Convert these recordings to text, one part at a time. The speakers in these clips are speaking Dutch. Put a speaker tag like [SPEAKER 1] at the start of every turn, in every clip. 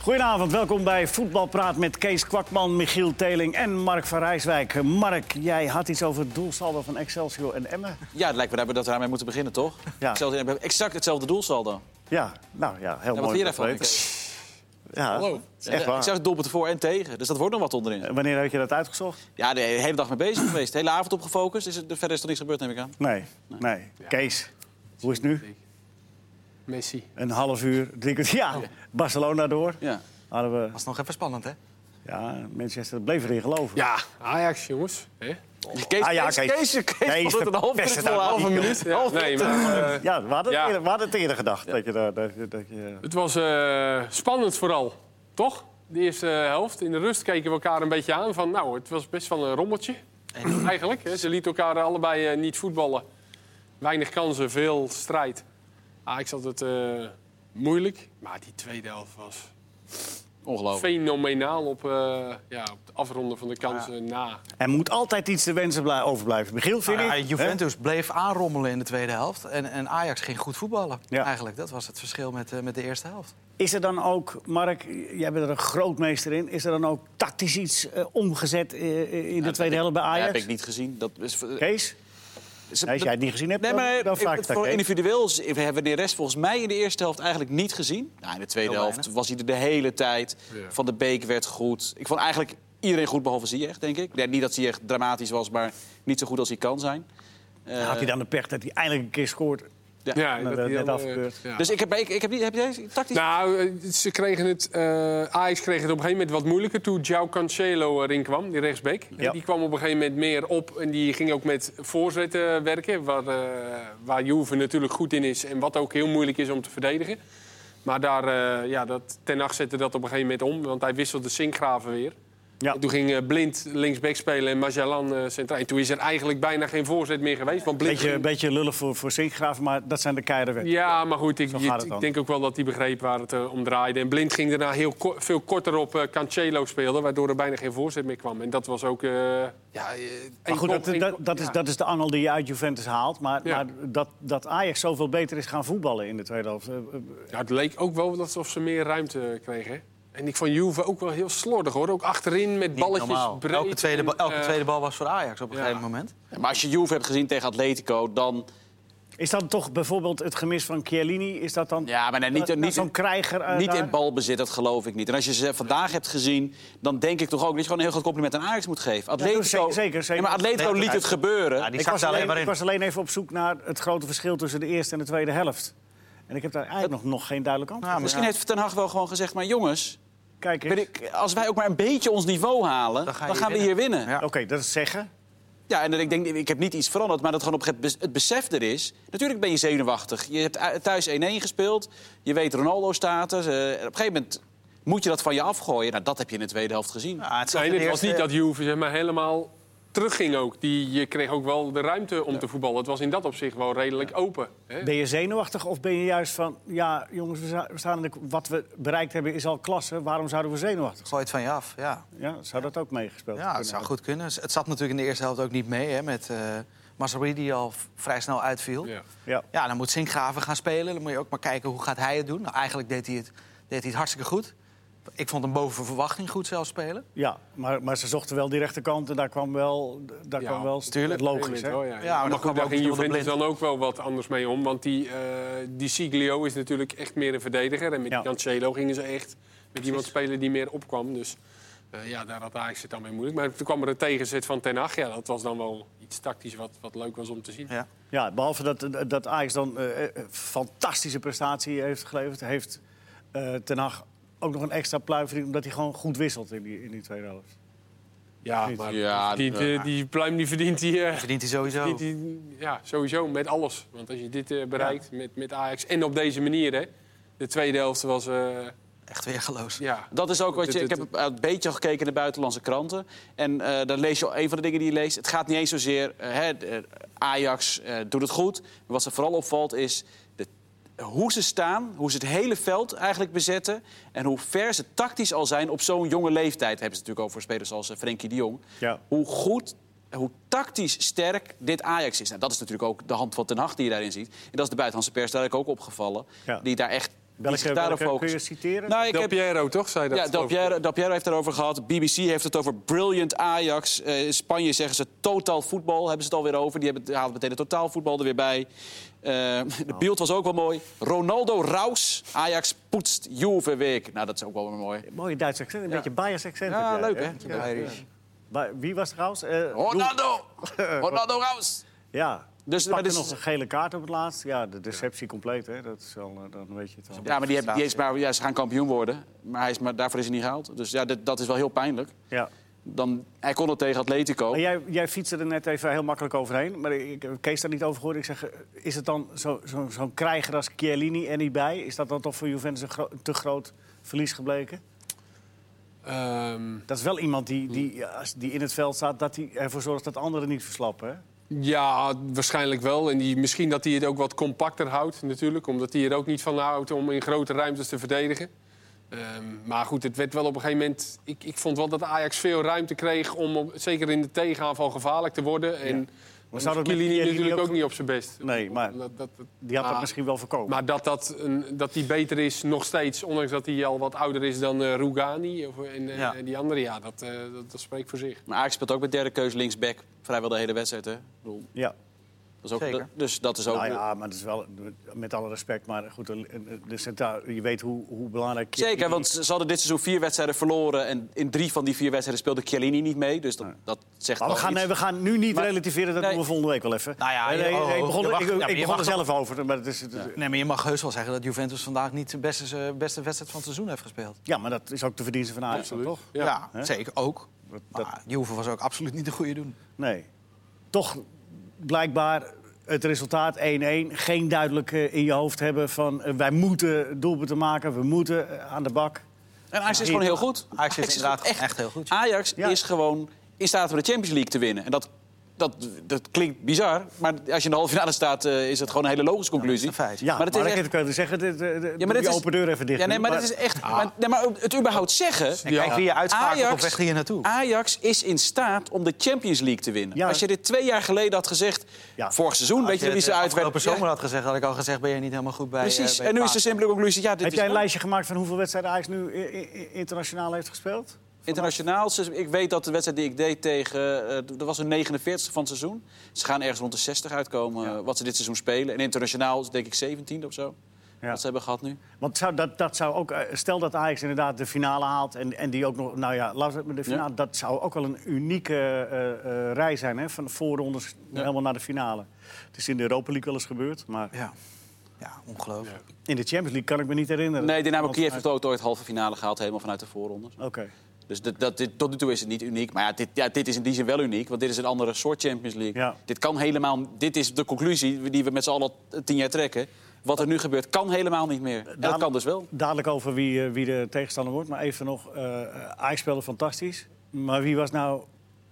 [SPEAKER 1] Goedenavond, welkom bij Voetbalpraat met Kees Kwakman, Michiel Teling en Mark van Rijswijk. Mark, jij had iets over het doelsaldo van Excelsior en Emmen.
[SPEAKER 2] Ja, het lijkt me dat we daarmee moeten beginnen, toch?
[SPEAKER 1] Ja.
[SPEAKER 2] Hetzelfde- we hebben exact hetzelfde doelsaldo.
[SPEAKER 1] Ja, nou ja, heel
[SPEAKER 2] Ja,
[SPEAKER 1] mooi.
[SPEAKER 2] wat weer
[SPEAKER 1] dat
[SPEAKER 2] daarvan.
[SPEAKER 1] weet. Ja,
[SPEAKER 3] Hallo.
[SPEAKER 1] is echt
[SPEAKER 2] Ik zag
[SPEAKER 1] waar.
[SPEAKER 2] het doelpunten voor en tegen, dus dat wordt nog wat onderin.
[SPEAKER 1] Wanneer heb je dat uitgezocht?
[SPEAKER 2] Ja, de hele dag mee bezig geweest. De hele avond op gefocust. Is er, verder is er niks gebeurd, neem ik aan.
[SPEAKER 1] Nee, nee. Kees, hoe is het nu?
[SPEAKER 3] Messi.
[SPEAKER 1] Een half uur, drie kwartier. Ja, Barcelona door.
[SPEAKER 2] Ja.
[SPEAKER 1] Hadden we,
[SPEAKER 4] Was nog even spannend, hè?
[SPEAKER 1] ja, Manchester bleef erin geloven.
[SPEAKER 3] Ja, Ajax, jongens. Hè?
[SPEAKER 2] Kees,
[SPEAKER 1] Ah, ja,
[SPEAKER 2] Kees,
[SPEAKER 1] Kees.
[SPEAKER 2] Kees, Kees,
[SPEAKER 1] Nee,
[SPEAKER 2] vond
[SPEAKER 1] is
[SPEAKER 2] het een half
[SPEAKER 1] verpesten
[SPEAKER 2] minuut vol
[SPEAKER 1] daar wel.
[SPEAKER 2] aan.
[SPEAKER 3] Half een minuut. Ja. Oh, Nee, maar, eh,
[SPEAKER 1] Ja, we hadden,
[SPEAKER 3] Ja.
[SPEAKER 1] Het, eerder, we hadden het eerder gedacht. Dat je, daar- dat, je- dat je...
[SPEAKER 3] het was eh, spannend vooral, toch? De eerste helft. In de rust keken we elkaar een beetje aan. Van, nou, het was best wel een rommeltje. Eigenlijk. Hè? Ze lieten elkaar allebei eh, niet voetballen. Weinig kansen, veel strijd. Ajax had het eh, moeilijk. Maar die tweede helft was
[SPEAKER 2] Ongelooflijk.
[SPEAKER 3] fenomenaal op, eh, ja, op het afronden van de kansen na.
[SPEAKER 1] Er moet altijd iets te wensen blij- overblijven. Michiel, vind
[SPEAKER 4] Nou Ja,
[SPEAKER 1] ik?
[SPEAKER 4] Ah, Juventus bleef aanrommelen in de tweede helft. En, en Ajax ging goed voetballen.
[SPEAKER 1] Ja.
[SPEAKER 4] Eigenlijk, dat was het verschil met, eh, met de eerste helft.
[SPEAKER 1] Is er dan ook, Mark, jij bent er een grootmeester in... is er dan ook tactisch iets eh, omgezet eh, eh, in de tweede helft bij
[SPEAKER 2] Ja,
[SPEAKER 1] Ajax?
[SPEAKER 2] heb ik niet gezien. Dat is,
[SPEAKER 1] Kees?
[SPEAKER 2] is-
[SPEAKER 1] Nee, als jij het niet gezien hebt,
[SPEAKER 2] Nee,
[SPEAKER 1] dan,
[SPEAKER 2] maar
[SPEAKER 1] dan
[SPEAKER 2] ik-
[SPEAKER 1] vraag ik
[SPEAKER 2] voor
[SPEAKER 1] dat.
[SPEAKER 2] individueel is- hebben we de rest volgens mij in de eerste helft eigenlijk niet gezien. Nou, in de tweede
[SPEAKER 4] Heel
[SPEAKER 2] helft
[SPEAKER 4] weinig.
[SPEAKER 2] was hij er de hele tijd.
[SPEAKER 3] Ja.
[SPEAKER 2] Van de Beek werd goed. Ik vond eigenlijk iedereen goed, behalve Ziyech, denk ik. Nee, niet dat Ziyech dramatisch was, maar niet zo goed als hij kan zijn. Eh,
[SPEAKER 1] Had hij dan de pech dat hij eindelijk een keer scoort?
[SPEAKER 3] Ja,
[SPEAKER 1] dat
[SPEAKER 3] die
[SPEAKER 1] net
[SPEAKER 3] dan, eh,
[SPEAKER 1] afgekeurd.
[SPEAKER 3] ja.
[SPEAKER 2] Dus ik heb, ik, ik heb niet... Heb jij tactisch...
[SPEAKER 3] Nou, eh, ze kregen het, eh, Ajax kreeg het op een gegeven moment wat moeilijker toen João Cancelo eh, erin kwam, die rechtsbeek.
[SPEAKER 1] Ja.
[SPEAKER 3] Die kwam op een gegeven moment meer op en die ging ook met voorzetten werken. Waar, eh waar Juve natuurlijk goed in is en wat ook heel moeilijk is om te verdedigen. Maar daar, eh, ja, dat, Ten Hag zette dat op een gegeven moment om, want hij wisselde Sinkgraven weer.
[SPEAKER 1] Ja.
[SPEAKER 3] En toen ging eh, Blind linksback spelen en Magellan eh centraal. En toen is er eigenlijk bijna geen voorzet meer geweest. Want Blind
[SPEAKER 1] Beetje,
[SPEAKER 3] ging-
[SPEAKER 1] beetje lullig voor, voor Sinkgraaf, maar dat zijn de keiharde ja.
[SPEAKER 3] ja, maar goed, ik,
[SPEAKER 1] Zo gaat het
[SPEAKER 3] ik
[SPEAKER 1] dan.
[SPEAKER 3] denk ook wel dat hij begreep waar het eh, om draaide. En Blind ging daarna heel ko- veel korter op eh, Cancelo speelde, waardoor er bijna geen voorzet meer kwam. En dat was ook... eh, ja, eh,
[SPEAKER 1] Maar
[SPEAKER 3] één
[SPEAKER 1] goed,
[SPEAKER 3] kop,
[SPEAKER 1] dat,
[SPEAKER 3] één
[SPEAKER 1] dat,
[SPEAKER 3] kop,
[SPEAKER 1] dat, is,
[SPEAKER 3] ja.
[SPEAKER 1] dat is de angel die je uit Juventus haalt. Maar,
[SPEAKER 3] Ja.
[SPEAKER 1] maar dat, dat Ajax zoveel beter is gaan voetballen in de tweede helft. eh, eh,
[SPEAKER 3] Ja, het leek ook wel alsof ze meer ruimte eh, kregen. hè. En ik vond Juve ook wel heel slordig, hoor. Ook achterin met
[SPEAKER 4] Niet
[SPEAKER 3] balletjes
[SPEAKER 4] normaal.
[SPEAKER 3] breed.
[SPEAKER 4] Elke, tweede, ba-
[SPEAKER 3] en,
[SPEAKER 4] elke
[SPEAKER 3] eh,
[SPEAKER 4] tweede bal was voor Ajax op een
[SPEAKER 3] ja.
[SPEAKER 4] gegeven moment.
[SPEAKER 2] Maar als je Juve hebt gezien tegen Atletico, dan...
[SPEAKER 1] Is dat toch bijvoorbeeld het gemis van Chiellini? Is dat dan
[SPEAKER 2] Ja, maar nee,
[SPEAKER 1] dat-
[SPEAKER 2] niet,
[SPEAKER 1] dat
[SPEAKER 2] niet,
[SPEAKER 1] zo'n krijger? eh,
[SPEAKER 2] niet
[SPEAKER 1] daar?
[SPEAKER 2] in balbezit, dat geloof ik niet. En als je ze vandaag hebt gezien, dan denk ik toch ook... dat je gewoon een heel groot compliment aan Ajax moet geven. Atletico,
[SPEAKER 1] zeker, zeker, zeker.
[SPEAKER 2] Ja, maar Atletico liet het gebeuren.
[SPEAKER 4] Ja, die
[SPEAKER 1] ik,
[SPEAKER 4] zakte
[SPEAKER 1] was
[SPEAKER 4] alleen
[SPEAKER 1] alleen,
[SPEAKER 4] maar
[SPEAKER 1] ik
[SPEAKER 4] in.
[SPEAKER 1] was alleen even op zoek naar het grote verschil tussen de eerste en de tweede helft. En ik heb daar eigenlijk nog, nog geen duidelijk antwoord
[SPEAKER 4] Nou,
[SPEAKER 1] op.
[SPEAKER 2] Misschien heeft Ten Hag wel gewoon gezegd, maar jongens...
[SPEAKER 1] Kijk eens.
[SPEAKER 2] weet ik, als wij ook maar een beetje ons niveau halen, dan,
[SPEAKER 4] ga je
[SPEAKER 2] gaan
[SPEAKER 4] hier
[SPEAKER 2] we hier winnen. Ja,
[SPEAKER 4] Ja.
[SPEAKER 1] Oké, dat is zeggen.
[SPEAKER 2] en dan, ik denk, ik heb niet iets veranderd, maar dat gewoon op het, bes- het besef er is. Natuurlijk ben je zenuwachtig. Je hebt u- thuis 1-1 gespeeld, je weet Ronaldo-status. eh, en op een gegeven moment moet je dat van je afgooien. Nou, dat heb je in de tweede helft gezien.
[SPEAKER 4] Ja, het zat
[SPEAKER 3] Nee,
[SPEAKER 4] in de
[SPEAKER 3] het was niet
[SPEAKER 4] eerste-
[SPEAKER 3] dat Juve zeg maar, helemaal terugging ook. Die, je kreeg ook wel de ruimte om te voetballen. Het was in dat opzicht wel redelijk open. Hè?
[SPEAKER 1] Ben je zenuwachtig of ben je juist van... ja, jongens, we za- we staan in de- wat we bereikt hebben is al klasse. Waarom zouden we zenuwachtig
[SPEAKER 4] Gooi het van je af, ja.
[SPEAKER 1] zijn? Ja, zou dat ook meegespeeld
[SPEAKER 4] Ja, het
[SPEAKER 1] kunnen
[SPEAKER 4] zou
[SPEAKER 1] hebben?
[SPEAKER 4] goed kunnen. Het zat natuurlijk in de eerste helft ook niet mee, hè. Met eh Masraoui die al v- vrij snel uitviel.
[SPEAKER 3] Ja.
[SPEAKER 1] Ja.
[SPEAKER 4] Ja, dan moet Sinkgraven gaan spelen. Dan moet je ook maar kijken hoe gaat hij het doen. Nou, eigenlijk deed hij het, deed hij het hartstikke goed. Ik vond hem boven verwachting goed zelf spelen.
[SPEAKER 1] Ja, maar, maar ze zochten wel die rechterkant en daar kwam wel, daar
[SPEAKER 3] Ja,
[SPEAKER 1] kwam wel
[SPEAKER 4] tuurlijk.
[SPEAKER 1] logisch. Hè?
[SPEAKER 3] Wel, ja.
[SPEAKER 4] maar
[SPEAKER 3] ja, maar
[SPEAKER 4] dat
[SPEAKER 3] goed,
[SPEAKER 4] kwam
[SPEAKER 3] daar
[SPEAKER 4] ook
[SPEAKER 3] ging
[SPEAKER 4] door de
[SPEAKER 3] Juventus
[SPEAKER 4] blind.
[SPEAKER 3] dan ook wel wat anders mee om. Want die, eh die Siglio is natuurlijk echt meer een verdediger. En met
[SPEAKER 1] Ja.
[SPEAKER 3] die Cancelo gingen ze echt met iemand spelen die meer opkwam. Dus eh, ja, daar had Ajax het dan mee moeilijk. Maar toen kwam er een tegenzet van Ten Hag. Ja, dat was dan wel iets tactisch wat, wat leuk was om te zien.
[SPEAKER 4] Ja.
[SPEAKER 1] Ja, behalve dat, dat Ajax dan eh, eh, fantastische prestatie heeft geleverd... heeft eh, Ten Hag ook nog een extra pluim verdiend... omdat hij gewoon goed wisselt in die, in die tweede helft.
[SPEAKER 3] Ja,
[SPEAKER 1] maar
[SPEAKER 2] Ja,
[SPEAKER 3] die, die, die pluim die verdient die, eh,
[SPEAKER 4] Verdient hij sowieso.
[SPEAKER 3] Die- die- ja, sowieso met alles. Want als je dit eh, bereikt met, met Ajax en op deze manier, hè. De tweede helft was, eh,
[SPEAKER 4] Echt weergeloos.
[SPEAKER 3] ja.
[SPEAKER 2] Dat is ook wat je. Ik
[SPEAKER 3] Het-
[SPEAKER 2] heb
[SPEAKER 3] het-
[SPEAKER 2] een beetje gekeken in de buitenlandse kranten. En eh dan lees je een van de dingen die je leest. Het gaat niet eens zozeer. eh, hè, de- Ajax eh, doet het goed. Maar wat ze vooral opvalt is. De, hoe ze staan, hoe ze het hele veld eigenlijk bezetten. En hoe ver ze tactisch al zijn op zo'n jonge leeftijd. Hebben ze natuurlijk over spelers als eh, Frenkie de Jong.
[SPEAKER 1] Ja.
[SPEAKER 2] Hoe goed. Hoe tactisch sterk dit Ajax is. Nou, dat is natuurlijk ook de hand van Ten Hag die je daarin ziet. En dat is de buitenlandse pers daar ook opgevallen.
[SPEAKER 1] Ja.
[SPEAKER 2] Die daar echt die zich daarop
[SPEAKER 1] kun je
[SPEAKER 2] focussen.
[SPEAKER 1] citeren?
[SPEAKER 2] Nou, ik
[SPEAKER 3] Del
[SPEAKER 2] heb,
[SPEAKER 3] Piero, toch? Zei dat
[SPEAKER 2] ja, Del
[SPEAKER 3] over-
[SPEAKER 2] Piero, Del Piero heeft het over gehad. BBC heeft het over brilliant Ajax. Eh, in Spanje zeggen ze totaal voetbal, hebben ze het alweer over. Die hebben, halen meteen de totaal voetbal er weer bij. Eh, de beeld was ook wel mooi. Ronaldo Raus, Ajax poetst Juve week. Nou, dat is ook wel weer mooi.
[SPEAKER 1] Mooie Duitse accent, een beetje Bayers accent.
[SPEAKER 2] Ja,
[SPEAKER 1] heb jij,
[SPEAKER 2] leuk, hè?
[SPEAKER 1] Ja. Ba- Wie was trouwens? Eh, Doel-
[SPEAKER 2] Ronaldo! Ronaldo Raus!
[SPEAKER 1] Ja.
[SPEAKER 2] Dus-
[SPEAKER 1] Dus
[SPEAKER 2] maar
[SPEAKER 1] er
[SPEAKER 2] dus-
[SPEAKER 1] nog een gele kaart op het laatst. Ja, de deceptie compleet, hè? Dat is wel, eh, dan weet je het al.
[SPEAKER 2] Ja, maar die, hebben- die is maar, ja, ze gaan kampioen worden. Maar, hij is, maar daarvoor is hij niet gehaald. Dus ja, dat, dat is wel heel pijnlijk.
[SPEAKER 1] Ja.
[SPEAKER 2] Dan, hij kon het tegen Atletico.
[SPEAKER 1] Maar jij, jij fietste er net even heel makkelijk overheen. Maar ik heb Kees daar niet over gehoord. Ik zeg, eh, is het dan zo- zo- zo'n krijger als Chiellini er niet bij? Is dat dan toch voor Juventus een gro- te groot verlies gebleken?
[SPEAKER 3] Ehm,
[SPEAKER 1] Dat is wel iemand die, die,
[SPEAKER 4] Hmm.
[SPEAKER 1] ja, als die in het veld staat... dat hij ervoor zorgt dat anderen niet verslappen, hè?
[SPEAKER 3] Ja, waarschijnlijk wel. En die, misschien dat hij het ook wat compacter houdt natuurlijk. Omdat hij er ook niet van houdt om in grote ruimtes te verdedigen. Ehm, maar goed, het werd wel op een gegeven moment... Ik, ik vond wel dat Ajax veel ruimte kreeg om op- zeker in de tegenaanval gevaarlijk te worden. En
[SPEAKER 1] Maar
[SPEAKER 3] was
[SPEAKER 1] zou dat met
[SPEAKER 3] Chiellini
[SPEAKER 1] Chiellini
[SPEAKER 3] natuurlijk
[SPEAKER 1] ook-
[SPEAKER 3] ook... niet op zijn best.
[SPEAKER 1] Nee, maar
[SPEAKER 3] Dat- dat- dat-
[SPEAKER 1] die had
[SPEAKER 3] Ah.
[SPEAKER 1] dat misschien wel voorkomen.
[SPEAKER 3] maar dat, dat, een, dat die beter is nog steeds, ondanks dat hij al wat ouder is dan eh, Rugani of, en, eh,
[SPEAKER 4] Ja.
[SPEAKER 3] en die andere, ja, dat, eh, dat, dat spreekt voor zich.
[SPEAKER 2] Maar Ajax speelt ook met derde keus linksback. Vrijwel de hele wedstrijd, hè? Ik bedoel,
[SPEAKER 1] Ja.
[SPEAKER 2] Dat is ook,
[SPEAKER 4] Zeker.
[SPEAKER 2] dat- dus dat is ook...
[SPEAKER 1] Nou ja, maar dat is wel, met alle respect, maar goed, een- een- de centra- je weet hoe, hoe belangrijk...
[SPEAKER 2] Zeker,
[SPEAKER 1] Chiellini
[SPEAKER 2] want ze ze hadden dit seizoen vier wedstrijden verloren... en in drie van die vier wedstrijden speelde Chiellini niet mee. Dus dat, dat zegt
[SPEAKER 1] Maar we
[SPEAKER 2] wel
[SPEAKER 1] gaan,
[SPEAKER 2] iets.
[SPEAKER 1] nee, we gaan nu niet
[SPEAKER 2] Maar-
[SPEAKER 1] relativeren, dat
[SPEAKER 2] nee.
[SPEAKER 1] doen we volgende week wel even.
[SPEAKER 4] Nou ja,
[SPEAKER 1] Nee, nee,
[SPEAKER 4] je- oh,
[SPEAKER 1] ik begon,
[SPEAKER 4] je mag-
[SPEAKER 1] ik,
[SPEAKER 4] ja,
[SPEAKER 1] ik
[SPEAKER 4] maar je
[SPEAKER 1] begon
[SPEAKER 4] mag
[SPEAKER 1] er
[SPEAKER 4] toch-
[SPEAKER 1] zelf over. Maar het is, het is- ja.
[SPEAKER 4] Nee, maar je mag heus wel zeggen dat Juventus vandaag niet de beste, eh, beste wedstrijd van het seizoen heeft gespeeld.
[SPEAKER 1] maar dat is ook de verdienste van Ajax, dan, toch?
[SPEAKER 3] Ja.
[SPEAKER 4] Ja,
[SPEAKER 1] Hè?
[SPEAKER 4] zeker ook.
[SPEAKER 1] Dat- dat-
[SPEAKER 4] Maar Juve was ook absoluut niet de goede doen.
[SPEAKER 1] nee. Toch blijkbaar het resultaat 1-1. Geen duidelijk eh, in je hoofd hebben van eh, wij moeten doelpunten maken, we moeten eh, aan de bak.
[SPEAKER 2] En Ajax is gewoon heel goed.
[SPEAKER 4] Ajax is inderdaad
[SPEAKER 2] gewoon
[SPEAKER 4] echt, echt heel goed.
[SPEAKER 2] Ajax
[SPEAKER 1] Ja.
[SPEAKER 2] is gewoon in staat om de Champions League te winnen. En dat, dat, dat klinkt bizar, maar als je in de halve finale staat... eh, is het gewoon een hele logische conclusie.
[SPEAKER 4] een feit.
[SPEAKER 1] Ja, maar,
[SPEAKER 2] dat
[SPEAKER 1] dat
[SPEAKER 2] is
[SPEAKER 1] ik
[SPEAKER 2] echt-
[SPEAKER 1] kan je zeggen, dit, eh, dit-
[SPEAKER 2] Ja,
[SPEAKER 1] doe
[SPEAKER 2] maar dit
[SPEAKER 1] die
[SPEAKER 2] is-
[SPEAKER 1] open deur even dicht. Ah.
[SPEAKER 2] Ja, nee,
[SPEAKER 1] nu,
[SPEAKER 2] maar, dat is echt. Maar, nee, maar het überhaupt zeggen.
[SPEAKER 4] En kijk wie je uitschakelt
[SPEAKER 2] Ajax-
[SPEAKER 4] of weg die je naartoe.
[SPEAKER 2] Ajax is in staat om de Champions League te winnen.
[SPEAKER 1] Ja.
[SPEAKER 2] Als je dit twee jaar geleden had gezegd,
[SPEAKER 1] Ja.
[SPEAKER 2] vorig seizoen, weet je wie ze uit
[SPEAKER 4] eh, afgelopen
[SPEAKER 2] werd.
[SPEAKER 4] zomer
[SPEAKER 2] Ja,
[SPEAKER 4] had gezegd, had ik al gezegd, ben je niet helemaal goed bij
[SPEAKER 2] precies.
[SPEAKER 4] eh, bij
[SPEAKER 2] en nu is de
[SPEAKER 4] Paas.
[SPEAKER 2] simpele conclusie: ja, dit
[SPEAKER 1] Heb
[SPEAKER 2] is
[SPEAKER 1] jij een
[SPEAKER 2] wel
[SPEAKER 1] lijstje gemaakt van hoeveel wedstrijden Ajax nu eh, eh, eh, internationaal heeft gespeeld?
[SPEAKER 2] internationaal. Ze- Ik weet dat de wedstrijd die ik deed tegen, eh, dat was een 49 van het seizoen. Ze gaan ergens rond de 60 uitkomen eh, wat ze dit seizoen spelen. En internationaal is denk ik 17 of zo.
[SPEAKER 1] Ja.
[SPEAKER 2] Wat ze hebben gehad nu.
[SPEAKER 1] Want zou dat, dat zou ook, eh, stel dat Ajax inderdaad de finale haalt en, en die ook nog, nou ja, laat het met de finale,
[SPEAKER 2] Ja.
[SPEAKER 1] dat zou ook wel een unieke eh, eh, rij zijn, hè? van de voorrondes helemaal naar de finale. Het is in de Europa League wel eens gebeurd, maar
[SPEAKER 4] Ja, ja ongelooflijk.
[SPEAKER 1] in de Champions League kan ik me niet herinneren.
[SPEAKER 2] Nee, Dynamo
[SPEAKER 1] Want-
[SPEAKER 2] Kiev heeft ook ooit halve finale gehaald, helemaal vanuit de voorrondes.
[SPEAKER 1] Oké.
[SPEAKER 2] Dus dat, dat, dit, tot nu toe is het niet uniek. Maar ja dit, ja, dit is in die zin wel uniek, want dit is een andere soort Champions League.
[SPEAKER 1] Ja.
[SPEAKER 2] Dit kan helemaal... Dit is de conclusie die we met z'n allen al tien jaar trekken. Wat er nu gebeurt, kan helemaal niet meer. En dat
[SPEAKER 1] Daarom-
[SPEAKER 2] kan dus wel.
[SPEAKER 1] Dadelijk over wie, eh, wie de tegenstander wordt, maar even nog, eh Ajax speelde fantastisch. Maar wie was nou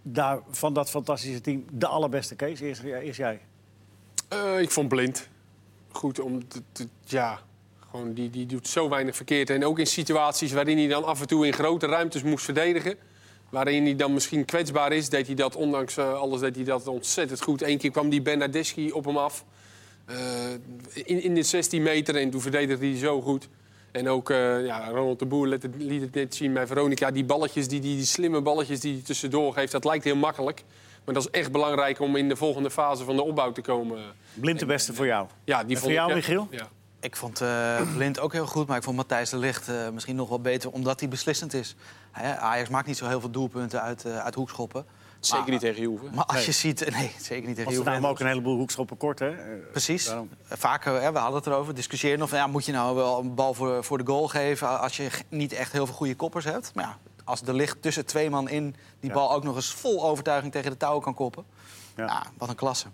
[SPEAKER 1] daar, van dat fantastische team de allerbeste, Kees? Eerst, ja, eerst jij.
[SPEAKER 3] Eh, ik vond Blind goed om te, te- ja, gewoon die, die doet zo weinig verkeerd. En ook in situaties waarin hij dan af en toe in grote ruimtes moest verdedigen. Waarin hij dan misschien kwetsbaar is, deed hij dat ondanks eh, alles deed hij dat ontzettend goed. Eén keer kwam die Bernardeschi op hem af. eh, in, in de 16 meter en toen verdedigde hij zo goed. En ook eh, ja, Ronald de Boer liet het, liet het net zien bij Veronica. Die balletjes, die, die, die slimme balletjes die hij tussendoor geeft, dat lijkt heel makkelijk. Maar dat is echt belangrijk om in de volgende fase van de opbouw te komen.
[SPEAKER 1] Blind de beste voor jou.
[SPEAKER 3] Ja, die
[SPEAKER 1] En
[SPEAKER 3] vond
[SPEAKER 1] voor jou,
[SPEAKER 3] ik,
[SPEAKER 1] Michiel?
[SPEAKER 3] Ja.
[SPEAKER 4] Ik vond eh, Blind ook heel goed, maar ik vond Matthijs de Ligt eh, misschien nog wel beter... omdat hij beslissend is. Hè, Ajax maakt niet zo heel veel doelpunten uit, eh, uit hoekschoppen.
[SPEAKER 2] Zeker
[SPEAKER 4] Maar-
[SPEAKER 2] niet tegen Juve.
[SPEAKER 4] Maar als je ziet... Nee, zeker
[SPEAKER 1] Want
[SPEAKER 4] niet tegen
[SPEAKER 1] ze namen
[SPEAKER 4] Juventus.
[SPEAKER 1] ook een heleboel hoekschoppen kort, hè? Eh,
[SPEAKER 4] Precies.
[SPEAKER 1] Daarom.
[SPEAKER 4] Vaak, eh, we hadden het erover, discussiëren of ja, moet je nou wel een bal voor, voor de goal geven eh, als je g- niet echt heel veel goede koppers hebt. Maar ja, als de licht tussen twee man in die bal ook nog eens vol overtuiging tegen de touw kan koppen.
[SPEAKER 1] Ja.
[SPEAKER 4] Ja. wat een klasse.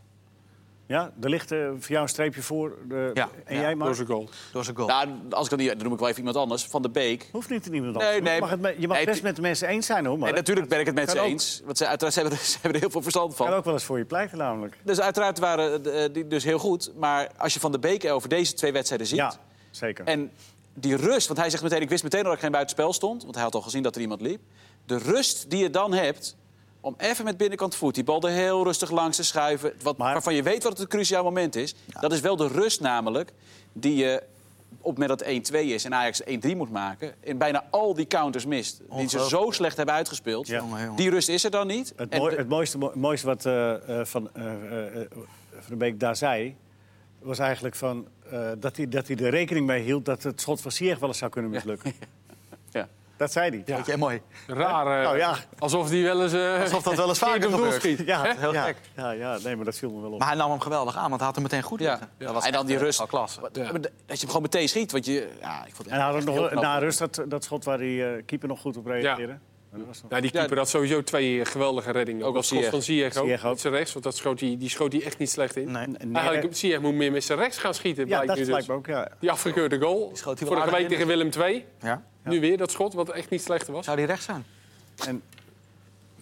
[SPEAKER 1] Ja, er ligt eh, voor jou een streepje voor. de-
[SPEAKER 4] Ja,
[SPEAKER 1] en
[SPEAKER 4] ja.
[SPEAKER 1] jij, Mark?
[SPEAKER 3] Door zijn goal.
[SPEAKER 4] Door zijn goal.
[SPEAKER 2] Nou, als ik dat niet... Dan noem ik wel even iemand anders. Van de Beek.
[SPEAKER 1] Hoeft niet in iemand
[SPEAKER 2] Nee,
[SPEAKER 1] anders.
[SPEAKER 2] nee.
[SPEAKER 1] je mag, het me- je mag
[SPEAKER 2] Nee,
[SPEAKER 1] best
[SPEAKER 2] tu-
[SPEAKER 1] met de mensen eens zijn, hoor. Maar
[SPEAKER 2] En natuurlijk ben ik het met
[SPEAKER 1] kan
[SPEAKER 2] ze
[SPEAKER 1] ook.
[SPEAKER 2] eens. Want ze, uiteraard ze hebben, er- ze hebben er heel veel verstand van.
[SPEAKER 1] kan ook wel eens voor je pleiten, namelijk.
[SPEAKER 2] Dus uiteraard waren eh, die dus heel goed. Maar als je Van de Beek over deze twee wedstrijden ziet...
[SPEAKER 1] Ja, zeker.
[SPEAKER 2] En die rust, want hij zegt meteen, ik wist meteen dat ik geen buitenspel stond. Want hij had al gezien dat er iemand liep. De rust die je dan hebt om even met binnenkant voet die bal er heel rustig langs te schuiven. Wat,
[SPEAKER 1] Maar-
[SPEAKER 2] waarvan je weet wat het een cruciaal moment is. Dat is wel de rust namelijk die je op het moment dat het 1-2 is en Ajax 1-3 moet maken... en bijna al die counters mist, die ze
[SPEAKER 4] Ongelooflijk.
[SPEAKER 2] zo slecht hebben uitgespeeld...
[SPEAKER 1] Ja.
[SPEAKER 4] Jongen, jongen.
[SPEAKER 2] die rust is er dan niet.
[SPEAKER 1] Het,
[SPEAKER 2] En
[SPEAKER 1] mooi-
[SPEAKER 2] de-
[SPEAKER 1] het mooiste, mo- mooiste wat eh, eh, van, eh, eh, eh, Van de Beek daar zei... was eigenlijk van, eh, dat, hij, dat hij er rekening mee hield... dat het schot van Sieg wel eens zou kunnen mislukken.
[SPEAKER 2] Ja.
[SPEAKER 1] Dat zei hij.
[SPEAKER 4] Weet je, mooi.
[SPEAKER 3] Raar. eh,
[SPEAKER 1] Nou ja.
[SPEAKER 3] Alsof die wel eens... eh,
[SPEAKER 4] Alsof dat wel eens
[SPEAKER 3] verkeerd
[SPEAKER 4] vaker
[SPEAKER 3] op doel
[SPEAKER 4] gebeurt.
[SPEAKER 3] schiet.
[SPEAKER 1] Ja,
[SPEAKER 3] Hè?
[SPEAKER 4] Heel
[SPEAKER 1] ja,
[SPEAKER 4] gek.
[SPEAKER 1] Ja, ja, nee, maar dat viel me wel op.
[SPEAKER 4] Maar hij nam hem geweldig aan, want hij had hem meteen goed
[SPEAKER 2] Ja.
[SPEAKER 4] liggen.
[SPEAKER 2] Ja. dus-
[SPEAKER 4] Dat was
[SPEAKER 2] en dan die
[SPEAKER 4] echt, eh,
[SPEAKER 2] rust.
[SPEAKER 4] Al klas.
[SPEAKER 2] Wat- Dat je hem gewoon meteen schiet. Want je, ja, ik vond het
[SPEAKER 1] en hij had ook
[SPEAKER 2] echt heel
[SPEAKER 1] nog
[SPEAKER 2] knap.
[SPEAKER 1] na rust dat, dat schot waar die eh, keeper nog goed op reageerde. Dat was nog-
[SPEAKER 3] Nou, die keeper
[SPEAKER 2] Ja.
[SPEAKER 3] had sowieso twee eh, geweldige reddingen. Ook
[SPEAKER 2] Ook
[SPEAKER 3] dat
[SPEAKER 2] al
[SPEAKER 3] schot
[SPEAKER 2] Ziyech.
[SPEAKER 3] van Ziyech ook.
[SPEAKER 1] Ziyech ook.
[SPEAKER 3] Met zijn rechts, want dat schoot die, die schoot hij echt niet slecht in.
[SPEAKER 4] Nee.
[SPEAKER 3] Eigenlijk, Ziyech moet meer met zijn rechts gaan schieten,
[SPEAKER 1] ja,
[SPEAKER 3] blijkt
[SPEAKER 1] dat
[SPEAKER 3] nu dus.
[SPEAKER 1] lijkt me ook, ja.
[SPEAKER 3] Die afgekeurde goal.
[SPEAKER 4] schoot hij wel
[SPEAKER 3] Vorige week
[SPEAKER 4] aardig
[SPEAKER 3] tegen Willem II.
[SPEAKER 4] Ja.
[SPEAKER 3] Nu weer dat schot, wat echt niet slechter was.
[SPEAKER 4] Zou die recht zijn?
[SPEAKER 1] En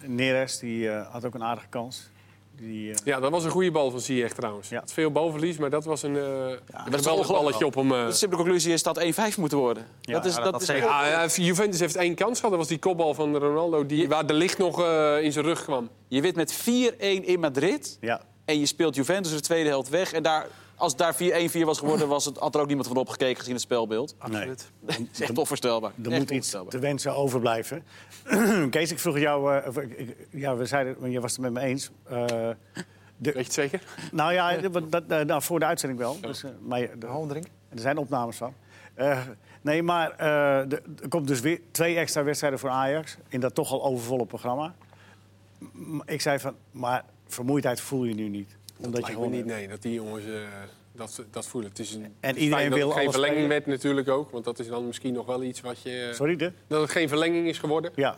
[SPEAKER 1] Neres, die eh, had ook een aardige kans. Die, eh,
[SPEAKER 3] Ja, dat was een goede bal van Ziyech trouwens.
[SPEAKER 1] Ja.
[SPEAKER 3] Het is Veel balverlies, maar dat was een eh
[SPEAKER 2] is
[SPEAKER 3] geweldig
[SPEAKER 2] ongelooflijk.
[SPEAKER 3] balletje op hem. eh.
[SPEAKER 2] De simpele conclusie is dat 1-5 moet worden. dat is,
[SPEAKER 4] ja,
[SPEAKER 2] dat
[SPEAKER 4] dat
[SPEAKER 2] is
[SPEAKER 4] zeker.
[SPEAKER 3] Ja, ja, Juventus heeft één kans gehad. Dat was die kopbal van Ronaldo, die, waar de licht nog eh, in zijn rug kwam.
[SPEAKER 2] Je wint met 4-1 in Madrid.
[SPEAKER 1] ja.
[SPEAKER 2] En je speelt Juventus de tweede helft weg. En daar, als daar 4-1-4 was geworden, was het, had er ook niemand van opgekeken gezien het speelbeeld.
[SPEAKER 4] Absoluut.
[SPEAKER 2] Het is echt onvoorstelbaar.
[SPEAKER 1] Er
[SPEAKER 2] Echt
[SPEAKER 1] moet iets
[SPEAKER 2] onvoorstelbaar.
[SPEAKER 1] te wensen overblijven. Kees, ik vroeg jou... eh, of ik- ik- ja, we zeiden, want je was het met me eens. Eh,
[SPEAKER 3] Weet je het zeker?
[SPEAKER 1] nou ja, want dat, eh, nou, voor de uitzending wel. Dus, eh, maar je- de- er zijn opnames van. Eh, nee, maar eh, de- er komt dus weer twee extra wedstrijden voor Ajax... in dat toch al overvolle programma. M- Ik zei van, maar vermoeidheid voel je nu niet. Omdat
[SPEAKER 3] Lijkt me
[SPEAKER 1] gewoon-
[SPEAKER 3] niet, nee, dat die jongens eh, dat, dat voelen. Het is een, het is
[SPEAKER 1] iedereen
[SPEAKER 3] fijn dat
[SPEAKER 1] wil
[SPEAKER 3] het geen
[SPEAKER 1] alles
[SPEAKER 3] verlenging
[SPEAKER 1] spelen.
[SPEAKER 3] werd natuurlijk ook. Want dat is dan misschien nog wel iets wat je...
[SPEAKER 1] Sorry, de?
[SPEAKER 3] Dat het geen verlenging is geworden.
[SPEAKER 1] Ja.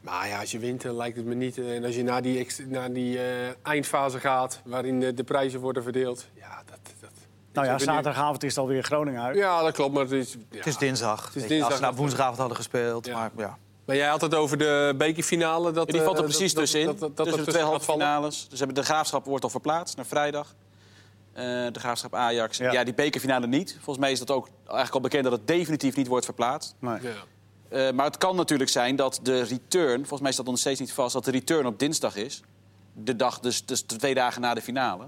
[SPEAKER 3] Maar ja, als je wint, eh, lijkt het me niet. eh, En als je naar die, ex- naar die eh, eindfase gaat, waarin de, de prijzen worden verdeeld. Ja, dat... dat
[SPEAKER 1] Nou ja,
[SPEAKER 3] Ik ben benieuwd.
[SPEAKER 1] zaterdagavond is het alweer Groningen uit.
[SPEAKER 3] Ja, dat klopt, maar het is... ja.
[SPEAKER 4] Het is dinsdag. Weet je,
[SPEAKER 3] dinsdag
[SPEAKER 4] Als ze nou
[SPEAKER 3] dat-
[SPEAKER 4] woensdagavond hadden gespeeld.
[SPEAKER 3] Ja.
[SPEAKER 4] Maar ja,
[SPEAKER 3] Maar jij had het over de bekerfinale. Dat,
[SPEAKER 2] En die valt er
[SPEAKER 3] eh,
[SPEAKER 2] precies
[SPEAKER 3] dat-
[SPEAKER 2] tussenin.
[SPEAKER 3] dat- dat- dat
[SPEAKER 2] tussen de
[SPEAKER 3] er
[SPEAKER 2] twee halve
[SPEAKER 3] tussen gaat vallen.
[SPEAKER 2] finales. Dus hebben de graafschap wordt al verplaatst naar vrijdag. Eh, de graafschap Ajax.
[SPEAKER 1] Ja.
[SPEAKER 2] Ja. die bekerfinale niet. Volgens mij is dat ook eigenlijk al bekend dat het definitief niet wordt verplaatst.
[SPEAKER 1] Nee.
[SPEAKER 3] Ja.
[SPEAKER 2] Eh, maar het kan natuurlijk zijn dat de return, volgens mij staat nog steeds niet vast, dat de return op dinsdag is. De dag, dus, dus de twee dagen na de finale.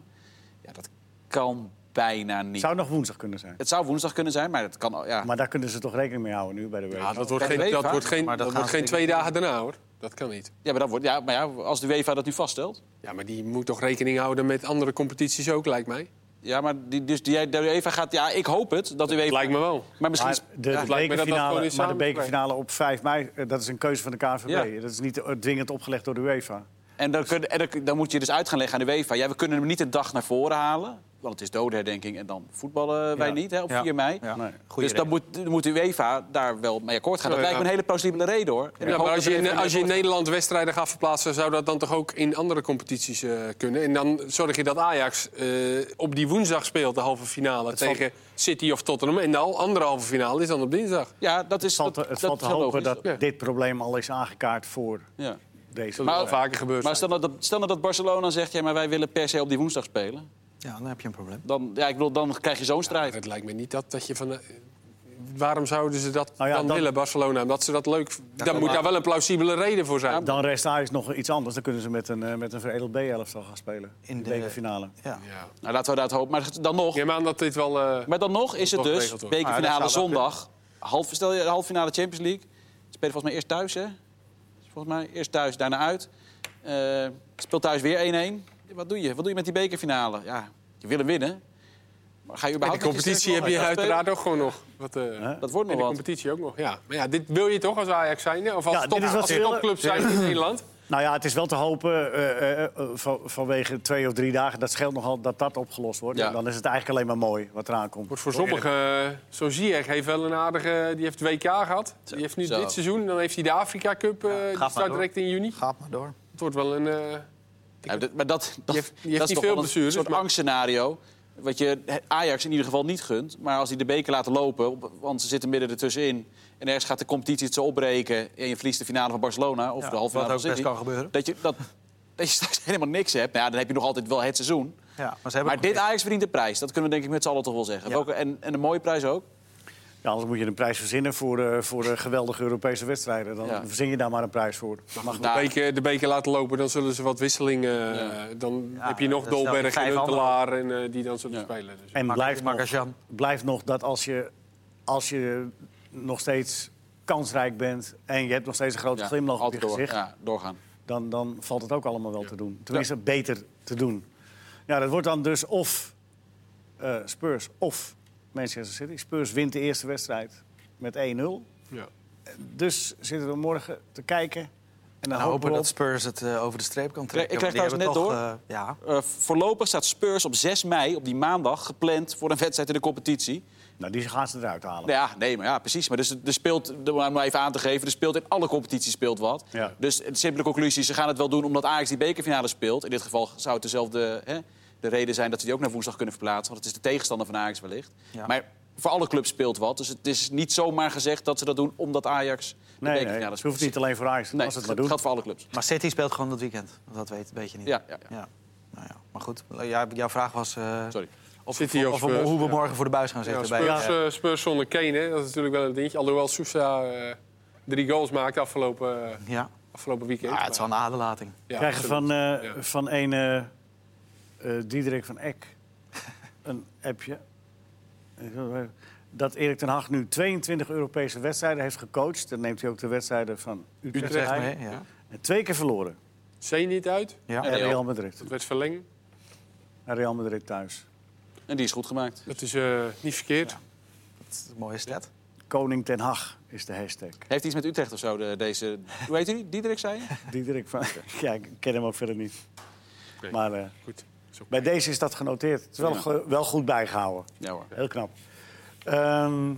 [SPEAKER 2] Ja, dat kan bijna niet.
[SPEAKER 1] Zou nog woensdag kunnen zijn.
[SPEAKER 2] Het zou woensdag kunnen zijn, maar dat kan. al- Ja.
[SPEAKER 1] Maar daar kunnen ze toch rekening mee houden nu bij de week.
[SPEAKER 3] Ja, dat wordt
[SPEAKER 2] Bij de
[SPEAKER 3] geen, dat
[SPEAKER 2] UEFA,
[SPEAKER 3] wordt geen,
[SPEAKER 4] maar
[SPEAKER 3] dat
[SPEAKER 4] dat gaan
[SPEAKER 3] wordt
[SPEAKER 4] ze
[SPEAKER 3] geen
[SPEAKER 4] denk ik
[SPEAKER 3] twee dagen daarna, hoor. Dat kan niet.
[SPEAKER 2] Ja, maar, dat wordt, ja, maar ja, als de UEFA dat nu vaststelt.
[SPEAKER 3] Ja, maar die moet toch rekening houden met andere competities ook, lijkt mij.
[SPEAKER 2] Ja, maar die, dus die, de UEFA gaat. Ja, ik hoop het dat de UEFA.
[SPEAKER 3] Lijkt me wel.
[SPEAKER 2] Maar misschien.
[SPEAKER 1] Maar
[SPEAKER 2] is-
[SPEAKER 1] de,
[SPEAKER 2] ja,
[SPEAKER 3] lijkt me dat dat gewoon
[SPEAKER 1] bekerfinale,
[SPEAKER 3] is
[SPEAKER 1] maar de
[SPEAKER 3] samengebracht.
[SPEAKER 1] bekerfinale op 5 mei, eh, dat is een keuze van de KNVB.
[SPEAKER 2] Ja.
[SPEAKER 1] Dat is niet eh, dwingend opgelegd door de UEFA.
[SPEAKER 2] En, dan, kun, en dan, dan moet je dus uit gaan leggen aan de UEFA. Ja, we kunnen hem niet een dag naar voren halen. Want het is dodenherdenking en dan voetballen wij
[SPEAKER 1] Ja.
[SPEAKER 2] niet hè, op
[SPEAKER 4] Ja.
[SPEAKER 2] 4 mei.
[SPEAKER 4] Ja.
[SPEAKER 1] Nee.
[SPEAKER 2] dus dan moet, dan moet de UEFA daar wel mee akkoord gaan. Dat
[SPEAKER 3] Ja,
[SPEAKER 2] lijkt me
[SPEAKER 3] ja.
[SPEAKER 2] een hele plausibele reden hoor. En ik
[SPEAKER 3] Ja,
[SPEAKER 2] hoop
[SPEAKER 3] maar
[SPEAKER 2] dat
[SPEAKER 3] als je,
[SPEAKER 2] de
[SPEAKER 3] in,
[SPEAKER 2] UEFA
[SPEAKER 3] als je in
[SPEAKER 2] mee
[SPEAKER 3] Nederland wedstrijden gaat verplaatsen, zou dat dan toch ook in andere competities eh, kunnen? En dan zorg je dat Ajax eh, op die woensdag speelt, de halve finale tegen City of Tottenham. En de al- andere halve finale is dan op dinsdag.
[SPEAKER 2] akkoord- Ja, dat is.
[SPEAKER 1] Het valt,
[SPEAKER 2] dat,
[SPEAKER 1] te- het
[SPEAKER 2] dat
[SPEAKER 1] valt te
[SPEAKER 2] is wel
[SPEAKER 1] hopen
[SPEAKER 2] logisch.
[SPEAKER 1] dat
[SPEAKER 3] Ja.
[SPEAKER 1] dit probleem al is aangekaart voor
[SPEAKER 2] Ja.
[SPEAKER 1] deze
[SPEAKER 3] Dat is wel
[SPEAKER 1] wedstrijd.
[SPEAKER 3] vaker gebeurd.
[SPEAKER 2] Maar
[SPEAKER 3] zijn.
[SPEAKER 2] stel nou dat, stel nou dat Barcelona zegt: ja, maar wij willen per se op die woensdag spelen.
[SPEAKER 4] ja, dan heb je een probleem.
[SPEAKER 2] Dan, ja, ik bedoel, dan krijg je zo'n strijd.
[SPEAKER 3] Het lijkt me niet dat, dat je van. eh, Waarom zouden ze dat
[SPEAKER 1] Nou ja,
[SPEAKER 3] dan,
[SPEAKER 1] dan-
[SPEAKER 3] willen, Barcelona? Omdat ze dat leuk. dan
[SPEAKER 4] kan
[SPEAKER 3] moet
[SPEAKER 4] maar.
[SPEAKER 3] daar wel een plausibele reden voor zijn.
[SPEAKER 1] Dan rest Ajax nog iets anders. Dan kunnen ze met een, eh, met een veredeld B-elftal gaan spelen. In
[SPEAKER 4] In
[SPEAKER 1] de
[SPEAKER 4] de-
[SPEAKER 1] bekerfinale.
[SPEAKER 4] Ja.
[SPEAKER 3] Ja.
[SPEAKER 2] Nou, laten we dat hopen. Maar dan nog.
[SPEAKER 3] Ik neem aan dat dit wel. eh,
[SPEAKER 2] Maar dan nog is het
[SPEAKER 3] Toch
[SPEAKER 2] dus
[SPEAKER 3] geregeld wordt.
[SPEAKER 4] Ah,
[SPEAKER 2] bekerfinale
[SPEAKER 4] dat zou wel
[SPEAKER 2] zondag. Half, stel je halffinale Champions League. Ze spelen volgens mij eerst thuis, hè? Volgens mij eerst thuis, daarna uit. Eh speelt thuis weer 1-1. Wat doe je? Wat doe je met die bekerfinale? Ja, je wil hem winnen. Maar ga je
[SPEAKER 3] en de
[SPEAKER 2] überhaupt met je
[SPEAKER 3] competitie heb
[SPEAKER 2] sterkste
[SPEAKER 3] je
[SPEAKER 2] elftal spelen?
[SPEAKER 3] uiteraard ook gewoon nog. Wat, eh,
[SPEAKER 2] Dat wordt nog
[SPEAKER 3] En de
[SPEAKER 2] wat.
[SPEAKER 3] competitie ook nog, ja. Maar ja, dit wil je toch als Ajax zijn? hè? Of als,
[SPEAKER 1] Ja,
[SPEAKER 3] top,
[SPEAKER 1] dit is wat
[SPEAKER 3] als
[SPEAKER 1] ze willen.
[SPEAKER 3] topclub zijn in Nederland?
[SPEAKER 1] Nou ja, het is wel te hopen eh, eh, eh, van- vanwege twee of drie dagen. Dat scheelt nogal dat dat opgelost wordt.
[SPEAKER 2] Ja.
[SPEAKER 1] En dan is het eigenlijk alleen maar mooi wat eraan komt.
[SPEAKER 3] Wordt voor sommigen, eh, zo Ziyech heeft wel een aardige... Die heeft WK gehad. Die heeft nu
[SPEAKER 2] zo.
[SPEAKER 3] dit seizoen. Dan heeft hij de Afrika Cup. eh, die
[SPEAKER 4] maar
[SPEAKER 3] start
[SPEAKER 4] door.
[SPEAKER 3] direct in juni.
[SPEAKER 4] Gaat maar door.
[SPEAKER 3] Het wordt wel een... eh,
[SPEAKER 2] Ja, dat- maar dat, dat,
[SPEAKER 3] Je hebt- je hebt
[SPEAKER 2] dat
[SPEAKER 3] niet
[SPEAKER 2] is toch
[SPEAKER 3] veel
[SPEAKER 2] wel een
[SPEAKER 3] blessures,
[SPEAKER 2] soort
[SPEAKER 3] maar-
[SPEAKER 2] angstscenario. Wat je Ajax in ieder geval niet gunt. Maar als die de beker laten lopen, op- want ze zitten midden ertussenin... en ergens gaat de competitie het zo opbreken... en je verliest de finale van Barcelona of de halve
[SPEAKER 4] Wat
[SPEAKER 2] finale
[SPEAKER 4] ook
[SPEAKER 2] van
[SPEAKER 4] best
[SPEAKER 2] City...
[SPEAKER 4] kan gebeuren.
[SPEAKER 2] dat je, dat, dat je straks helemaal niks hebt. Nou ja, dan heb je nog altijd wel het seizoen.
[SPEAKER 4] Ja, maar ze hebben
[SPEAKER 2] Maar
[SPEAKER 4] ook-
[SPEAKER 2] dit Ajax verdient de prijs. Dat kunnen we denk ik met z'n allen toch wel zeggen.
[SPEAKER 4] Ja.
[SPEAKER 2] Welke- en, en een mooie prijs ook.
[SPEAKER 1] Ja, anders moet je een prijs verzinnen voor, eh, voor de geweldige Europese wedstrijden. Dan
[SPEAKER 2] Ja.
[SPEAKER 1] verzin je daar maar een prijs voor. Maar goed,
[SPEAKER 2] Nou,
[SPEAKER 3] De beker, de beker laten lopen, dan zullen ze wat wisselingen. eh, Dan heb je nog
[SPEAKER 4] dat is wel
[SPEAKER 3] Dolberg en
[SPEAKER 4] vijf anderen.
[SPEAKER 3] Huntelaar en eh, die dan zullen
[SPEAKER 2] Ja.
[SPEAKER 3] spelen. Dus.
[SPEAKER 1] en blijft nog,
[SPEAKER 4] Marcajan.
[SPEAKER 1] blijft nog dat als je, als je nog steeds kansrijk bent... en je hebt nog steeds een grote
[SPEAKER 2] Ja,
[SPEAKER 1] glimlach op je
[SPEAKER 2] altijd door,
[SPEAKER 1] gezicht...
[SPEAKER 2] ja, doorgaan.
[SPEAKER 1] dan, dan valt het ook allemaal wel te doen. Tenminste, beter te doen. Ja, dat wordt dan dus of eh, Spurs of Manchester City. Spurs wint de eerste wedstrijd met 1-0.
[SPEAKER 3] Ja.
[SPEAKER 1] Dus zitten we morgen te kijken. En dan
[SPEAKER 4] Nou,
[SPEAKER 1] hopen we dat...
[SPEAKER 4] Spurs het eh, over de streep kan trekken.
[SPEAKER 2] Ik krijg
[SPEAKER 4] want die
[SPEAKER 2] trouwens
[SPEAKER 4] hebben toch, eh, ja.
[SPEAKER 2] Eh, voorlopig staat Spurs op 6 mei, op die maandag, gepland voor een wedstrijd in de competitie.
[SPEAKER 1] Nou, die gaan ze eruit halen.
[SPEAKER 2] Nou Ja, nee, maar ja, precies. Maar dus er speelt, om maar even aan te geven, er speelt in alle competities speelt wat.
[SPEAKER 1] Ja.
[SPEAKER 2] Dus de simpele conclusie, ze gaan het wel doen omdat Ajax die bekerfinale speelt. In dit geval zou het dezelfde hè, de reden zijn dat ze die ook naar woensdag kunnen verplaatsen. Want het is de tegenstander van Ajax wellicht.
[SPEAKER 4] Ja.
[SPEAKER 2] Maar voor alle clubs speelt wat. Dus het is niet zomaar gezegd dat ze dat doen omdat Ajax de
[SPEAKER 1] nee, nee,
[SPEAKER 2] bekerfinale
[SPEAKER 1] het
[SPEAKER 2] speelt.
[SPEAKER 1] hoeft niet alleen voor Ajax.
[SPEAKER 2] Nee,
[SPEAKER 1] als ze het maar
[SPEAKER 2] dat
[SPEAKER 1] doen.
[SPEAKER 2] geldt voor alle clubs.
[SPEAKER 4] Maar City speelt gewoon dat weekend. Dat weet weet je niet.
[SPEAKER 2] Ja, ja, ja.
[SPEAKER 4] Ja. Nou ja. Maar goed, jij- jouw vraag was eh,
[SPEAKER 2] Sorry.
[SPEAKER 4] of,
[SPEAKER 3] City
[SPEAKER 4] we-
[SPEAKER 3] of
[SPEAKER 4] of we-
[SPEAKER 3] Spurs,
[SPEAKER 4] hoe we
[SPEAKER 3] ja.
[SPEAKER 4] morgen voor de buis gaan
[SPEAKER 3] Ja,
[SPEAKER 4] zitten. bij,
[SPEAKER 3] Spurs, eh, Spurs zonder Kane, hè, dat is natuurlijk wel een dingetje. Alhoewel Sousa eh, drie goals maakte afgelopen, eh,
[SPEAKER 4] ja.
[SPEAKER 3] afgelopen weekend.
[SPEAKER 4] Ah, het is wel een aderlating.
[SPEAKER 3] Ja,
[SPEAKER 1] krijgen
[SPEAKER 3] absoluut.
[SPEAKER 1] van, eh,
[SPEAKER 3] Ja.
[SPEAKER 1] van een eh eh, Diederik van Eck een appje. Dat Erik ten Hag nu 22 Europese wedstrijden heeft gecoacht. Dan neemt hij ook de wedstrijden van Utrecht,
[SPEAKER 4] Utrecht
[SPEAKER 1] mee.
[SPEAKER 4] mee, ja.
[SPEAKER 1] En twee keer verloren.
[SPEAKER 3] Zee niet uit,
[SPEAKER 4] Ja.
[SPEAKER 1] En Real Madrid.
[SPEAKER 3] dat werd verlengd.
[SPEAKER 1] En Real Madrid thuis.
[SPEAKER 2] En die is goed gemaakt.
[SPEAKER 3] Dat is eh, niet verkeerd.
[SPEAKER 4] Dat is een mooie stat.
[SPEAKER 1] Koning ten Hag is de hashtag.
[SPEAKER 2] Heeft iets met Utrecht of zo, de- deze... Hoe heet die? Diederik, zei je?
[SPEAKER 1] Diederik van... Ja, ik ken hem ook verder niet.
[SPEAKER 3] Nee.
[SPEAKER 1] Maar eh,
[SPEAKER 3] Goed. Zo.
[SPEAKER 1] bij deze is dat genoteerd. Het is wel,
[SPEAKER 2] Ja.
[SPEAKER 1] ge- wel goed bijgehouden.
[SPEAKER 2] Ja hoor.
[SPEAKER 1] Heel knap. Ehm,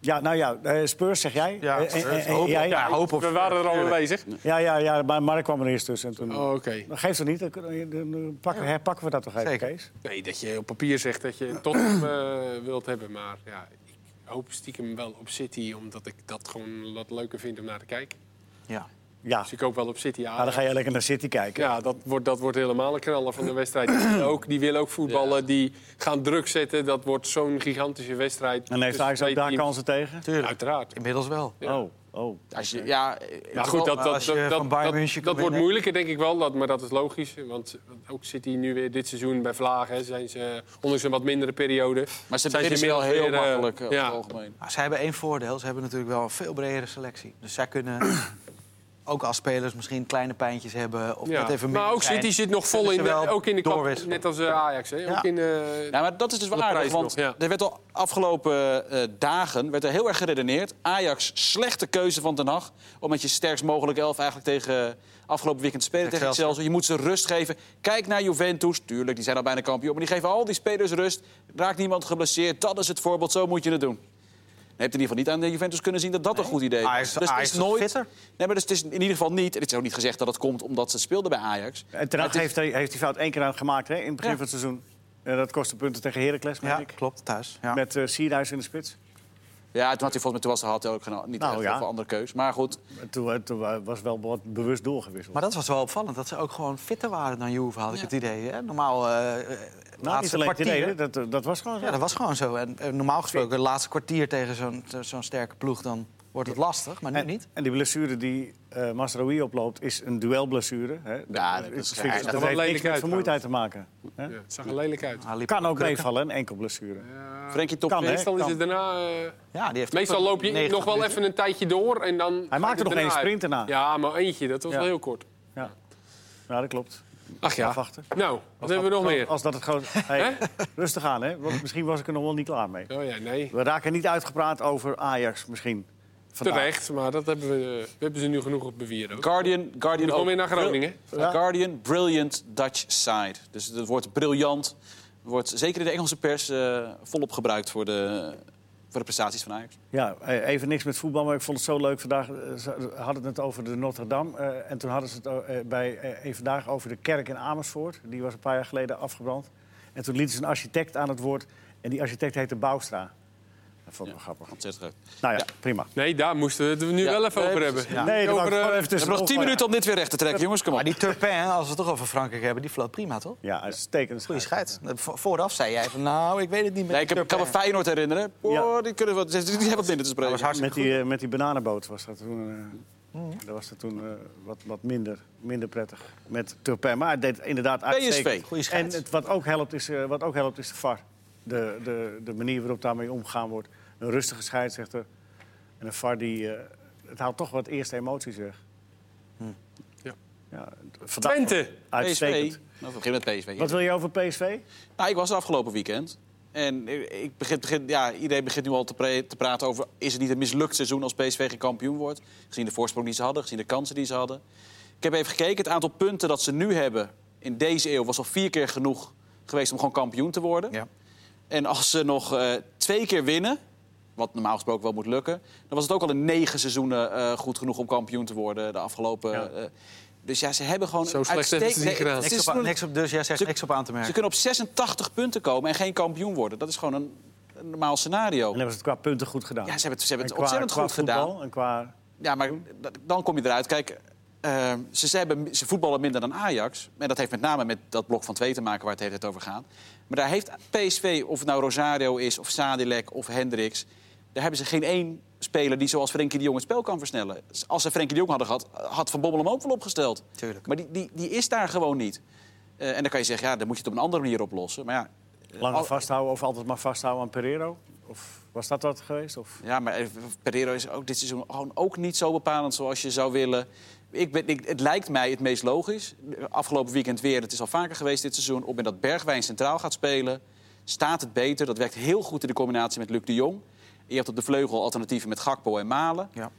[SPEAKER 1] ja, nou ja, eh, Spurs zeg jij.
[SPEAKER 4] Ja,
[SPEAKER 1] Eh, eh,
[SPEAKER 4] Spurs.
[SPEAKER 1] eh, eh,
[SPEAKER 4] Hoop-
[SPEAKER 1] jij?
[SPEAKER 4] ja, hoop op-
[SPEAKER 3] We waren er al aanwezig.
[SPEAKER 1] Ja, ja, ja, maar Mark kwam er eerst tussen. En toen...
[SPEAKER 3] Oh, Oké.
[SPEAKER 1] Dat Geeft het niet, dan kunnen we- dan eh, pakken, herpakken we dat toch even,
[SPEAKER 4] Zeker.
[SPEAKER 1] Kees?
[SPEAKER 3] Nee, dat je op papier zegt dat je Tottenham eh, wilt hebben. Maar ja, ik hoop stiekem wel op City, omdat ik dat gewoon wat leuker vind om naar te kijken.
[SPEAKER 4] Ja.
[SPEAKER 1] Ja,
[SPEAKER 3] Dus ik hoop wel op City
[SPEAKER 1] nou,
[SPEAKER 3] aan.
[SPEAKER 1] dan ga je lekker naar City kijken.
[SPEAKER 3] Ja, dat wordt, dat wordt helemaal een knaller van de wedstrijd. Die willen ook, die willen ook voetballen, die gaan druk zetten. Dat wordt zo'n gigantische wedstrijd.
[SPEAKER 1] En heeft
[SPEAKER 4] Dus
[SPEAKER 3] tussen
[SPEAKER 1] Ajax ook
[SPEAKER 3] twee
[SPEAKER 1] daar
[SPEAKER 3] teams.
[SPEAKER 1] kansen tegen?
[SPEAKER 3] Uiteraard.
[SPEAKER 4] Inmiddels wel.
[SPEAKER 3] Ja.
[SPEAKER 1] Oh, oh.
[SPEAKER 2] Als je, ja, eh,
[SPEAKER 1] Nou,
[SPEAKER 3] Ja, goed, dat,
[SPEAKER 4] Maar
[SPEAKER 3] dat,
[SPEAKER 4] als je
[SPEAKER 3] dat,
[SPEAKER 4] van
[SPEAKER 3] dat,
[SPEAKER 4] Bayern
[SPEAKER 3] dat-
[SPEAKER 4] München
[SPEAKER 3] dat wordt
[SPEAKER 4] kan winnen-
[SPEAKER 3] moeilijker, denk ik wel. Dat, maar dat is logisch. Want eh, ook City nu weer dit seizoen bij Vlagen. hè, Zijn ze, ondanks een wat mindere periode.
[SPEAKER 2] Maar ze
[SPEAKER 3] zijn
[SPEAKER 2] winnen ze wel heel
[SPEAKER 3] inmiddels weer, eh,
[SPEAKER 2] makkelijk eh, over
[SPEAKER 3] ja.
[SPEAKER 2] het algemeen.
[SPEAKER 4] Maar zij hebben één voordeel. Ze hebben natuurlijk wel een veel bredere selectie. Dus zij kunnen ook als spelers misschien kleine pijntjes hebben. Of
[SPEAKER 3] Ja.
[SPEAKER 4] net even
[SPEAKER 3] maar
[SPEAKER 4] minder
[SPEAKER 3] ook
[SPEAKER 4] zijn.
[SPEAKER 3] City zit nog vol
[SPEAKER 4] Kunnen
[SPEAKER 3] in
[SPEAKER 4] ze
[SPEAKER 3] de,
[SPEAKER 4] wel
[SPEAKER 3] ook in de kant-
[SPEAKER 4] doorwisselen.
[SPEAKER 3] Net als eh, Ajax. Hè?
[SPEAKER 4] Ja.
[SPEAKER 3] Ook in, eh,
[SPEAKER 2] Ja, maar dat is dus wel
[SPEAKER 3] De
[SPEAKER 2] aardig,
[SPEAKER 3] prijs
[SPEAKER 2] want
[SPEAKER 3] nog, ja.
[SPEAKER 2] er werd al afgelopen eh, dagen werd er heel erg geredeneerd. Ajax, slechte keuze van Den Haag. Om met je sterkst mogelijke elf eigenlijk tegen afgelopen weekend te spelen tegen
[SPEAKER 4] Excelsior.
[SPEAKER 2] Excelsior. Je moet ze rust geven. Kijk naar Juventus, tuurlijk, die zijn al bijna kampioen. Maar die geven al die spelers rust. Raakt niemand geblesseerd. Dat is het voorbeeld, zo moet je het doen. Je hebt in ieder geval niet aan de Juventus kunnen zien dat dat een goed idee was.
[SPEAKER 4] Ajax-
[SPEAKER 2] het
[SPEAKER 4] Ajax is fitter.
[SPEAKER 2] Nee, maar dus het is in ieder geval niet... en Het is ook niet gezegd dat het komt omdat ze speelden bij Ajax.
[SPEAKER 1] En ten Hag
[SPEAKER 2] Het is-
[SPEAKER 1] heeft, hij- heeft die fout één keer aan gemaakt hè, in het begin
[SPEAKER 2] Ja.
[SPEAKER 1] van het seizoen. Eh, dat kostte punten tegen Heracles, meen
[SPEAKER 4] Ja,
[SPEAKER 1] ik.
[SPEAKER 4] klopt, thuis. Ja.
[SPEAKER 1] Met eh Sierhuis in de spits.
[SPEAKER 2] Ja, toen had hij volgens mij toen was er had hij ook geen, niet
[SPEAKER 1] Nou,
[SPEAKER 2] echt
[SPEAKER 1] ja.
[SPEAKER 2] heel veel andere keus. Maar goed,
[SPEAKER 1] En Toen, eh, toen eh, was wel wat bewust doorgewisseld.
[SPEAKER 4] Maar dat was wel opvallend, dat ze ook gewoon fitter waren dan Juve, had ik het idee. Hè? Normaal, eh eh,
[SPEAKER 1] nou, niet
[SPEAKER 4] laatste
[SPEAKER 1] alleen het
[SPEAKER 4] kwartier...
[SPEAKER 1] idee, dat, eh, dat was gewoon zo.
[SPEAKER 4] Ja, dat was gewoon zo. En eh, normaal gesproken, het laatste kwartier tegen zo'n zo- zo'n sterke ploeg... dan wordt het lastig, maar nu
[SPEAKER 1] en,
[SPEAKER 4] niet.
[SPEAKER 1] en die blessure die eh Masraoui oploopt, is een duelblessure. Hè?
[SPEAKER 2] Ja, dat is-
[SPEAKER 1] Ik vind
[SPEAKER 2] ja, dat
[SPEAKER 1] dat
[SPEAKER 3] wel
[SPEAKER 1] heeft niks
[SPEAKER 3] lelijk
[SPEAKER 1] met
[SPEAKER 3] uit,
[SPEAKER 1] vermoeidheid te maken.
[SPEAKER 3] ja, het zag er lelijk uit.
[SPEAKER 4] Hij liep
[SPEAKER 1] Kan
[SPEAKER 4] op
[SPEAKER 1] ook
[SPEAKER 4] krukken.
[SPEAKER 1] meevallen, een enkel blessure.
[SPEAKER 2] Frenkie top
[SPEAKER 1] Kan, hè?
[SPEAKER 2] is-
[SPEAKER 3] Meestal is
[SPEAKER 1] kan.
[SPEAKER 3] het daarna... eh,
[SPEAKER 4] Ja, die heeft
[SPEAKER 3] Meestal
[SPEAKER 4] ook
[SPEAKER 3] loop je
[SPEAKER 4] 90
[SPEAKER 3] nog wel
[SPEAKER 4] minuten.
[SPEAKER 3] even een tijdje door en dan... ga je
[SPEAKER 1] maakte nog
[SPEAKER 3] daarna
[SPEAKER 1] één
[SPEAKER 3] uit.
[SPEAKER 1] sprint daarna.
[SPEAKER 3] Ja, maar eentje, dat was
[SPEAKER 1] Ja.
[SPEAKER 3] wel heel kort.
[SPEAKER 1] Ja, dat klopt.
[SPEAKER 3] Ach ja.
[SPEAKER 1] Afwachten.
[SPEAKER 3] Nou, wat
[SPEAKER 1] Als
[SPEAKER 3] hebben we
[SPEAKER 1] dat-
[SPEAKER 3] nog
[SPEAKER 4] oh,
[SPEAKER 3] meer?
[SPEAKER 1] Als dat het gewoon... Hey, rustig aan, hè? Want misschien was ik er nog wel niet klaar mee.
[SPEAKER 3] Oh ja, nee.
[SPEAKER 1] We raken niet uitgepraat over Ajax misschien. Vandaag.
[SPEAKER 3] Terecht, maar dat hebben we, eh, we hebben ze nu genoeg op bewier ook.
[SPEAKER 2] Guardian, Guardian
[SPEAKER 3] Moet
[SPEAKER 2] ook.
[SPEAKER 3] gewoon weer naar Groningen.
[SPEAKER 2] Bril- Guardian, brilliant Dutch side. Dus het woord briljant wordt zeker in de Engelse pers eh, volop gebruikt voor de, voor de prestaties van Ajax.
[SPEAKER 1] Ja, eh, even niks met voetbal, maar ik vond het zo leuk. Vandaag eh, ze hadden het over de Notre Dame. eh, en toen hadden ze het o- eh, bij eh, een vandaag over de kerk in Amersfoort. Die was een paar jaar geleden afgebrand. En toen lieten ze een architect aan het woord. En die architect heette Bouwstra. Dat vond ik wel grappig.
[SPEAKER 2] Ontzettend leuk. We
[SPEAKER 1] Nou ja, prima.
[SPEAKER 3] Nee, daar moesten we het nu
[SPEAKER 2] Ja.
[SPEAKER 3] wel even
[SPEAKER 2] Nee,
[SPEAKER 3] over
[SPEAKER 2] precies.
[SPEAKER 3] hebben.
[SPEAKER 2] Ja.
[SPEAKER 1] Nee, dat
[SPEAKER 3] Over,
[SPEAKER 1] wou ik
[SPEAKER 3] eh,
[SPEAKER 1] gewoon even tussendoor
[SPEAKER 2] hebben nog 10
[SPEAKER 1] gooien.
[SPEAKER 2] minuten om dit weer recht te trekken, jongens. Kom
[SPEAKER 4] Maar
[SPEAKER 2] op.
[SPEAKER 4] die Turpin, als we het toch over Frankrijk hebben, die floot prima, toch?
[SPEAKER 1] Ja, uitstekend.
[SPEAKER 4] Goeie scheids. Vo- Vooraf zei jij van, nou, ik weet het niet met
[SPEAKER 2] Nee,
[SPEAKER 4] die
[SPEAKER 2] ik heb- kan me
[SPEAKER 4] Turpin.
[SPEAKER 2] Feyenoord herinneren. Oh,
[SPEAKER 1] Ja.
[SPEAKER 2] die, kunnen wat, die hebben wat minder te spreken.
[SPEAKER 1] Met die, eh, met die bananenboot was dat toen, eh, dat was dat toen eh, wat, wat minder, minder prettig. Met Turpin. Maar het deed inderdaad uitstekend.
[SPEAKER 2] PSV.
[SPEAKER 4] Goeie
[SPEAKER 1] En
[SPEAKER 4] scheids.
[SPEAKER 1] het, wat, ook helpt is, eh, wat ook helpt is de VAR. De, de, de manier waarop daarmee omgegaan wordt. Een rustige scheidsrechter. En een VAR die... eh, het haalt toch wat eerste emoties weg.
[SPEAKER 2] Hm.
[SPEAKER 3] Ja.
[SPEAKER 1] ja vandaag-
[SPEAKER 3] Twente.
[SPEAKER 1] Uitstekend.
[SPEAKER 2] PSV. Nou, we beginnen met PSV.
[SPEAKER 1] Wat wil je over PSV?
[SPEAKER 2] Nou, ik was er afgelopen weekend. En ik- ik begin, begin, ja, iedereen begint nu al te, pre- te praten over... is het niet een mislukt seizoen als PSV geen kampioen wordt? Gezien de voorsprong die ze hadden, gezien de kansen die ze hadden. Ik heb even gekeken. Het aantal punten dat ze nu hebben in deze eeuw... was al vier keer genoeg geweest om gewoon kampioen te worden.
[SPEAKER 4] Ja.
[SPEAKER 2] En als ze nog eh, twee keer winnen, wat normaal gesproken wel moet lukken... dan was het ook al in negen seizoenen eh, goed genoeg om kampioen te worden de afgelopen...
[SPEAKER 1] Ja.
[SPEAKER 2] eh, dus ja, ze hebben gewoon...
[SPEAKER 3] Zo slecht hebben ze het niet
[SPEAKER 2] uitstekend-
[SPEAKER 3] gedaan.
[SPEAKER 2] Nee,
[SPEAKER 4] Niks
[SPEAKER 2] is
[SPEAKER 4] op,
[SPEAKER 2] nog-
[SPEAKER 4] niks op, dus jij zegt
[SPEAKER 2] Ze-
[SPEAKER 4] niks op aan te
[SPEAKER 2] ze
[SPEAKER 4] merken.
[SPEAKER 2] kunnen op 86 punten komen en geen kampioen worden. Dat is gewoon een, een normaal scenario.
[SPEAKER 1] En hebben ze het qua punten goed gedaan?
[SPEAKER 2] Ja, ze hebben het, ze hebben het
[SPEAKER 1] En qua-
[SPEAKER 2] ontzettend
[SPEAKER 1] qua
[SPEAKER 2] goed gedaan.
[SPEAKER 1] voetbal En qua...
[SPEAKER 2] Ja, maar d- dan kom je eruit. Kijk, eh, ze, ze, hebben, ze voetballen minder dan Ajax. En dat heeft met name met dat blok van twee te maken waar het de hele tijd over gaat. Maar daar heeft PSV, of het nou Rosario is, of Sadilek, of Hendricks... daar hebben ze geen één speler die zoals Frenkie de Jong het spel kan versnellen. Als ze Frenkie de Jong hadden gehad, had Van Bommel hem ook wel opgesteld.
[SPEAKER 4] Tuurlijk.
[SPEAKER 2] Maar die, die, die is daar gewoon niet. Eh, en dan kan je zeggen, ja, dan moet je het op een andere manier oplossen. Maar ja,
[SPEAKER 1] Langer
[SPEAKER 2] Al-
[SPEAKER 1] vasthouden of altijd maar vasthouden aan Pereiro? Of was dat wat geweest? Of...
[SPEAKER 2] Ja, maar eh, Pereiro is ook dit seizoen gewoon ook niet zo bepalend zoals je zou willen. Ik ben, ik, het lijkt mij het meest logisch. Afgelopen weekend weer, het is al vaker geweest dit seizoen... op het dat Bergwijn centraal gaat spelen, staat het beter. Dat werkt heel goed in de combinatie met Luc de Jong. Je hebt op de vleugel alternatieven met Gakpo en Malen.
[SPEAKER 4] Ja.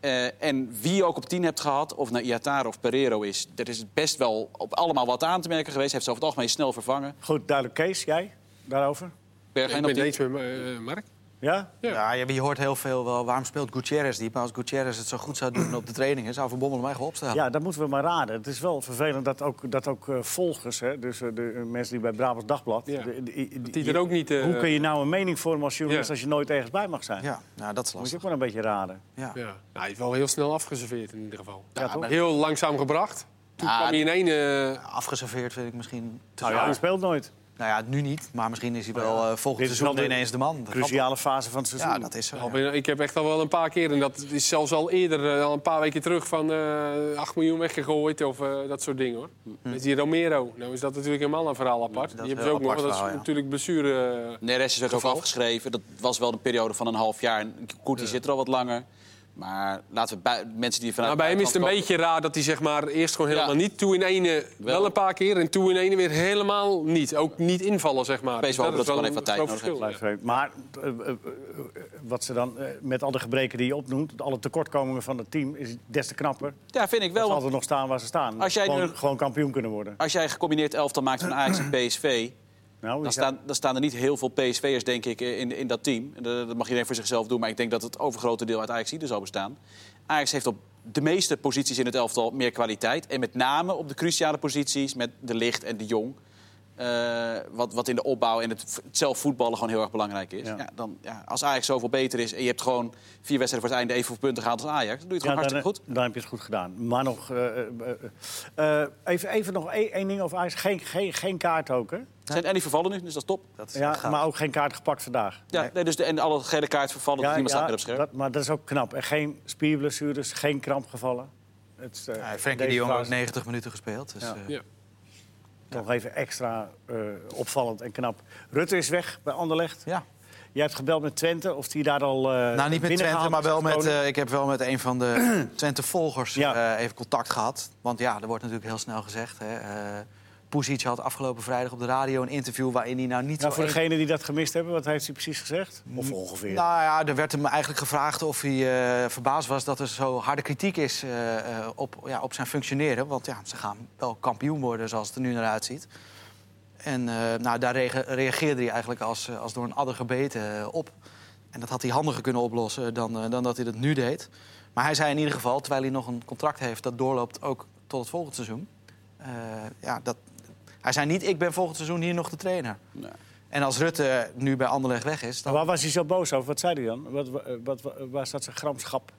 [SPEAKER 2] Eh, en wie je ook op 10 hebt gehad, of naar Iatare of Pereiro is... er is best wel op allemaal wat aan te merken geweest. Hij heeft ze over het algemeen snel vervangen.
[SPEAKER 1] Goed, duidelijk. Kees, jij daarover?
[SPEAKER 3] Ik
[SPEAKER 2] Bergwijn
[SPEAKER 3] ben
[SPEAKER 2] op
[SPEAKER 3] het
[SPEAKER 2] 10.
[SPEAKER 3] eens met eh, Mark.
[SPEAKER 1] Ja?
[SPEAKER 4] Ja, ja, je hoort heel veel wel, waarom speelt Gutierrez diep? Maar als Gutierrez het zo goed zou doen op de trainingen... zou Van Bommel hem eigenlijk opstellen.
[SPEAKER 1] Ja, dat moeten we maar raden. Het is wel vervelend dat ook, dat ook eh, volgers, hè, dus eh, de eh, mensen die bij Brabants Dagblad...
[SPEAKER 3] Ja.
[SPEAKER 1] de- de- die,
[SPEAKER 3] Die er ook niet... eh,
[SPEAKER 1] Hoe kun je nou een mening vormen als journalist
[SPEAKER 3] Ja.
[SPEAKER 1] als je nooit ergens bij mag zijn?
[SPEAKER 4] Ja, nou, dat
[SPEAKER 1] Moet
[SPEAKER 4] is
[SPEAKER 1] je
[SPEAKER 4] lastig.
[SPEAKER 1] ook maar een beetje raden.
[SPEAKER 4] Ja.
[SPEAKER 3] Ja. Nou, hij heeft wel heel snel afgeserveerd in ieder geval.
[SPEAKER 1] Ja, toch?
[SPEAKER 3] Heel langzaam gebracht. Toen
[SPEAKER 2] Ah,
[SPEAKER 3] kwam hij in één... eh,
[SPEAKER 4] Afgeserveerd vind ik misschien te
[SPEAKER 1] Nou ja,
[SPEAKER 4] zwaar.
[SPEAKER 1] hij speelt nooit.
[SPEAKER 4] Nou ja, nu niet, maar misschien is hij wel eh,
[SPEAKER 1] Dit
[SPEAKER 4] volgend
[SPEAKER 1] is
[SPEAKER 4] seizoen
[SPEAKER 1] wel de
[SPEAKER 4] ineens de man. Dat kan
[SPEAKER 1] Cruciale fase van het
[SPEAKER 4] toch?
[SPEAKER 1] seizoen.
[SPEAKER 4] Ja, dat is eh, zo. ja.
[SPEAKER 3] Al ben- Ik heb echt al wel een paar keer, en dat is zelfs al eerder, eh, al een paar weken terug, van eh 8 miljoen weggegooid of eh, dat soort dingen hoor. Met die Romero, nou is dat natuurlijk helemaal een verhaal apart.
[SPEAKER 4] dat
[SPEAKER 3] die
[SPEAKER 4] is
[SPEAKER 3] hebben
[SPEAKER 4] een
[SPEAKER 3] ze ook nog,
[SPEAKER 4] apart
[SPEAKER 3] want dat is
[SPEAKER 4] verhaal, ja.
[SPEAKER 3] natuurlijk blessure. eh,
[SPEAKER 2] Neres is ook
[SPEAKER 3] Geval.
[SPEAKER 2] afgeschreven. Dat was wel een periode van een half jaar. En Koeti zit er al wat langer. Maar laten we bui- mensen die vanuit...
[SPEAKER 3] Nou, bij hem is het een
[SPEAKER 2] buitenland
[SPEAKER 3] beetje raar dat hij zeg maar eerst gewoon helemaal
[SPEAKER 2] Ja.
[SPEAKER 3] niet, toen in ene wel.
[SPEAKER 2] Wel.
[SPEAKER 3] een paar keer en toen in ene weer helemaal niet. Ook niet invallen zeg maar.
[SPEAKER 2] Wees
[SPEAKER 3] Dus
[SPEAKER 2] wel
[SPEAKER 3] dat
[SPEAKER 2] dat
[SPEAKER 3] is
[SPEAKER 2] het
[SPEAKER 3] wel
[SPEAKER 2] gewoon
[SPEAKER 3] een
[SPEAKER 2] even wat tijd nodig
[SPEAKER 3] groot verschil.
[SPEAKER 1] Blijft vreemd. Maar eh, eh, eh, wat ze dan, eh, met al de gebreken die je opnoemt, alle tekortkomingen van het team, is het des te knapper.
[SPEAKER 2] komt. Ja, vind ik
[SPEAKER 1] Dat
[SPEAKER 2] wel.
[SPEAKER 1] ze
[SPEAKER 2] Oh, want
[SPEAKER 1] altijd nog staan waar ze staan.
[SPEAKER 2] Als jij
[SPEAKER 1] gewoon,
[SPEAKER 2] nu-
[SPEAKER 1] gewoon kampioen kunnen worden.
[SPEAKER 2] Als jij een gecombineerd elftal maakt van Ajax en PSV...
[SPEAKER 1] Nou,
[SPEAKER 2] Dan
[SPEAKER 1] is-
[SPEAKER 2] staan, dan staan er niet heel veel PSV'ers, denk ik, eh, in, in dat team. En Dat dat mag iedereen voor zichzelf doen. Maar ik denk dat het overgrote deel uit Ajax er zou bestaan. Ajax heeft op de meeste posities in het elftal meer kwaliteit. En met name op de cruciale posities met De Licht en De Jong. Eh, wat, wat in de opbouw en het, v- het zelf voetballen gewoon heel erg belangrijk is.
[SPEAKER 1] Ja.
[SPEAKER 2] Ja. dan, ja, als Ajax zoveel beter is en je hebt gewoon vier wedstrijden voor het einde evenveel punten gehaald als Ajax... dan doe je het
[SPEAKER 1] Ja,
[SPEAKER 2] gewoon
[SPEAKER 1] dan,
[SPEAKER 2] hartstikke goed.
[SPEAKER 1] eh, dan heb je het goed gedaan. Maar nog, eh, eh, eh, eh, even, even nog één één ding over Ajax. Geen, geen, geen kaart ook, hè?
[SPEAKER 2] Er Zijn, en die vervallen nu, dus dat is top.
[SPEAKER 4] Dat is
[SPEAKER 1] Ja,
[SPEAKER 4] gaaf.
[SPEAKER 1] maar ook geen kaart gepakt vandaag.
[SPEAKER 2] Ja, nee, dus de, en alle gele kaart vervallen, dus
[SPEAKER 1] ja,
[SPEAKER 2] niemand staat
[SPEAKER 1] ja,
[SPEAKER 2] meer op scherm.
[SPEAKER 1] dat- maar dat is ook knap. En geen spierblessures, geen krampgevallen. Het, is, eh,
[SPEAKER 4] Ja, Frenkie
[SPEAKER 1] deze
[SPEAKER 4] de Jong
[SPEAKER 1] fase
[SPEAKER 4] heeft 90 minuten gespeeld. Dus,
[SPEAKER 1] Ja.
[SPEAKER 4] eh,
[SPEAKER 3] Ja.
[SPEAKER 1] Nog even extra eh, opvallend en knap. Rutte is weg bij Anderlecht.
[SPEAKER 4] ja.
[SPEAKER 1] Jij hebt gebeld met Twente, of die daar al eh
[SPEAKER 4] Nou, niet met Twente,
[SPEAKER 1] binnengehaald
[SPEAKER 4] maar
[SPEAKER 1] is
[SPEAKER 4] wel met,
[SPEAKER 1] gekomen?
[SPEAKER 4] eh, ik heb wel met een van de Twente-volgers
[SPEAKER 1] Ja.
[SPEAKER 4] eh, even contact gehad. Want ja, er wordt natuurlijk heel snel gezegd. Hè, eh, Pusic had afgelopen vrijdag op de radio een interview waarin hij nou niet
[SPEAKER 1] Nou,
[SPEAKER 4] zo
[SPEAKER 1] voor
[SPEAKER 4] een-
[SPEAKER 1] degenen die dat gemist hebben, wat heeft hij precies gezegd? Of ongeveer?
[SPEAKER 4] Nou ja, er werd hem eigenlijk gevraagd of hij eh, verbaasd was dat er zo harde kritiek is eh, eh, op, ja, op zijn functioneren. Want ja, ze gaan wel kampioen worden zoals het er nu naar uitziet. En eh, nou, daar rege- reageerde hij eigenlijk als, eh, als door een adder gebeten eh, op. En dat had hij handiger kunnen oplossen dan, eh, dan dat hij dat nu deed. Maar hij zei in ieder geval, terwijl hij nog een contract heeft dat doorloopt ook tot het volgend seizoen. eh, ja, dat, hij zei niet, ik ben volgend seizoen hier nog de trainer.
[SPEAKER 2] Nee.
[SPEAKER 4] En als Rutte nu bij Anderlecht weg is, dan...
[SPEAKER 1] Waar was hij zo boos over? Wat zei hij dan? Wat, wat, wat- waar staat zijn gramschap?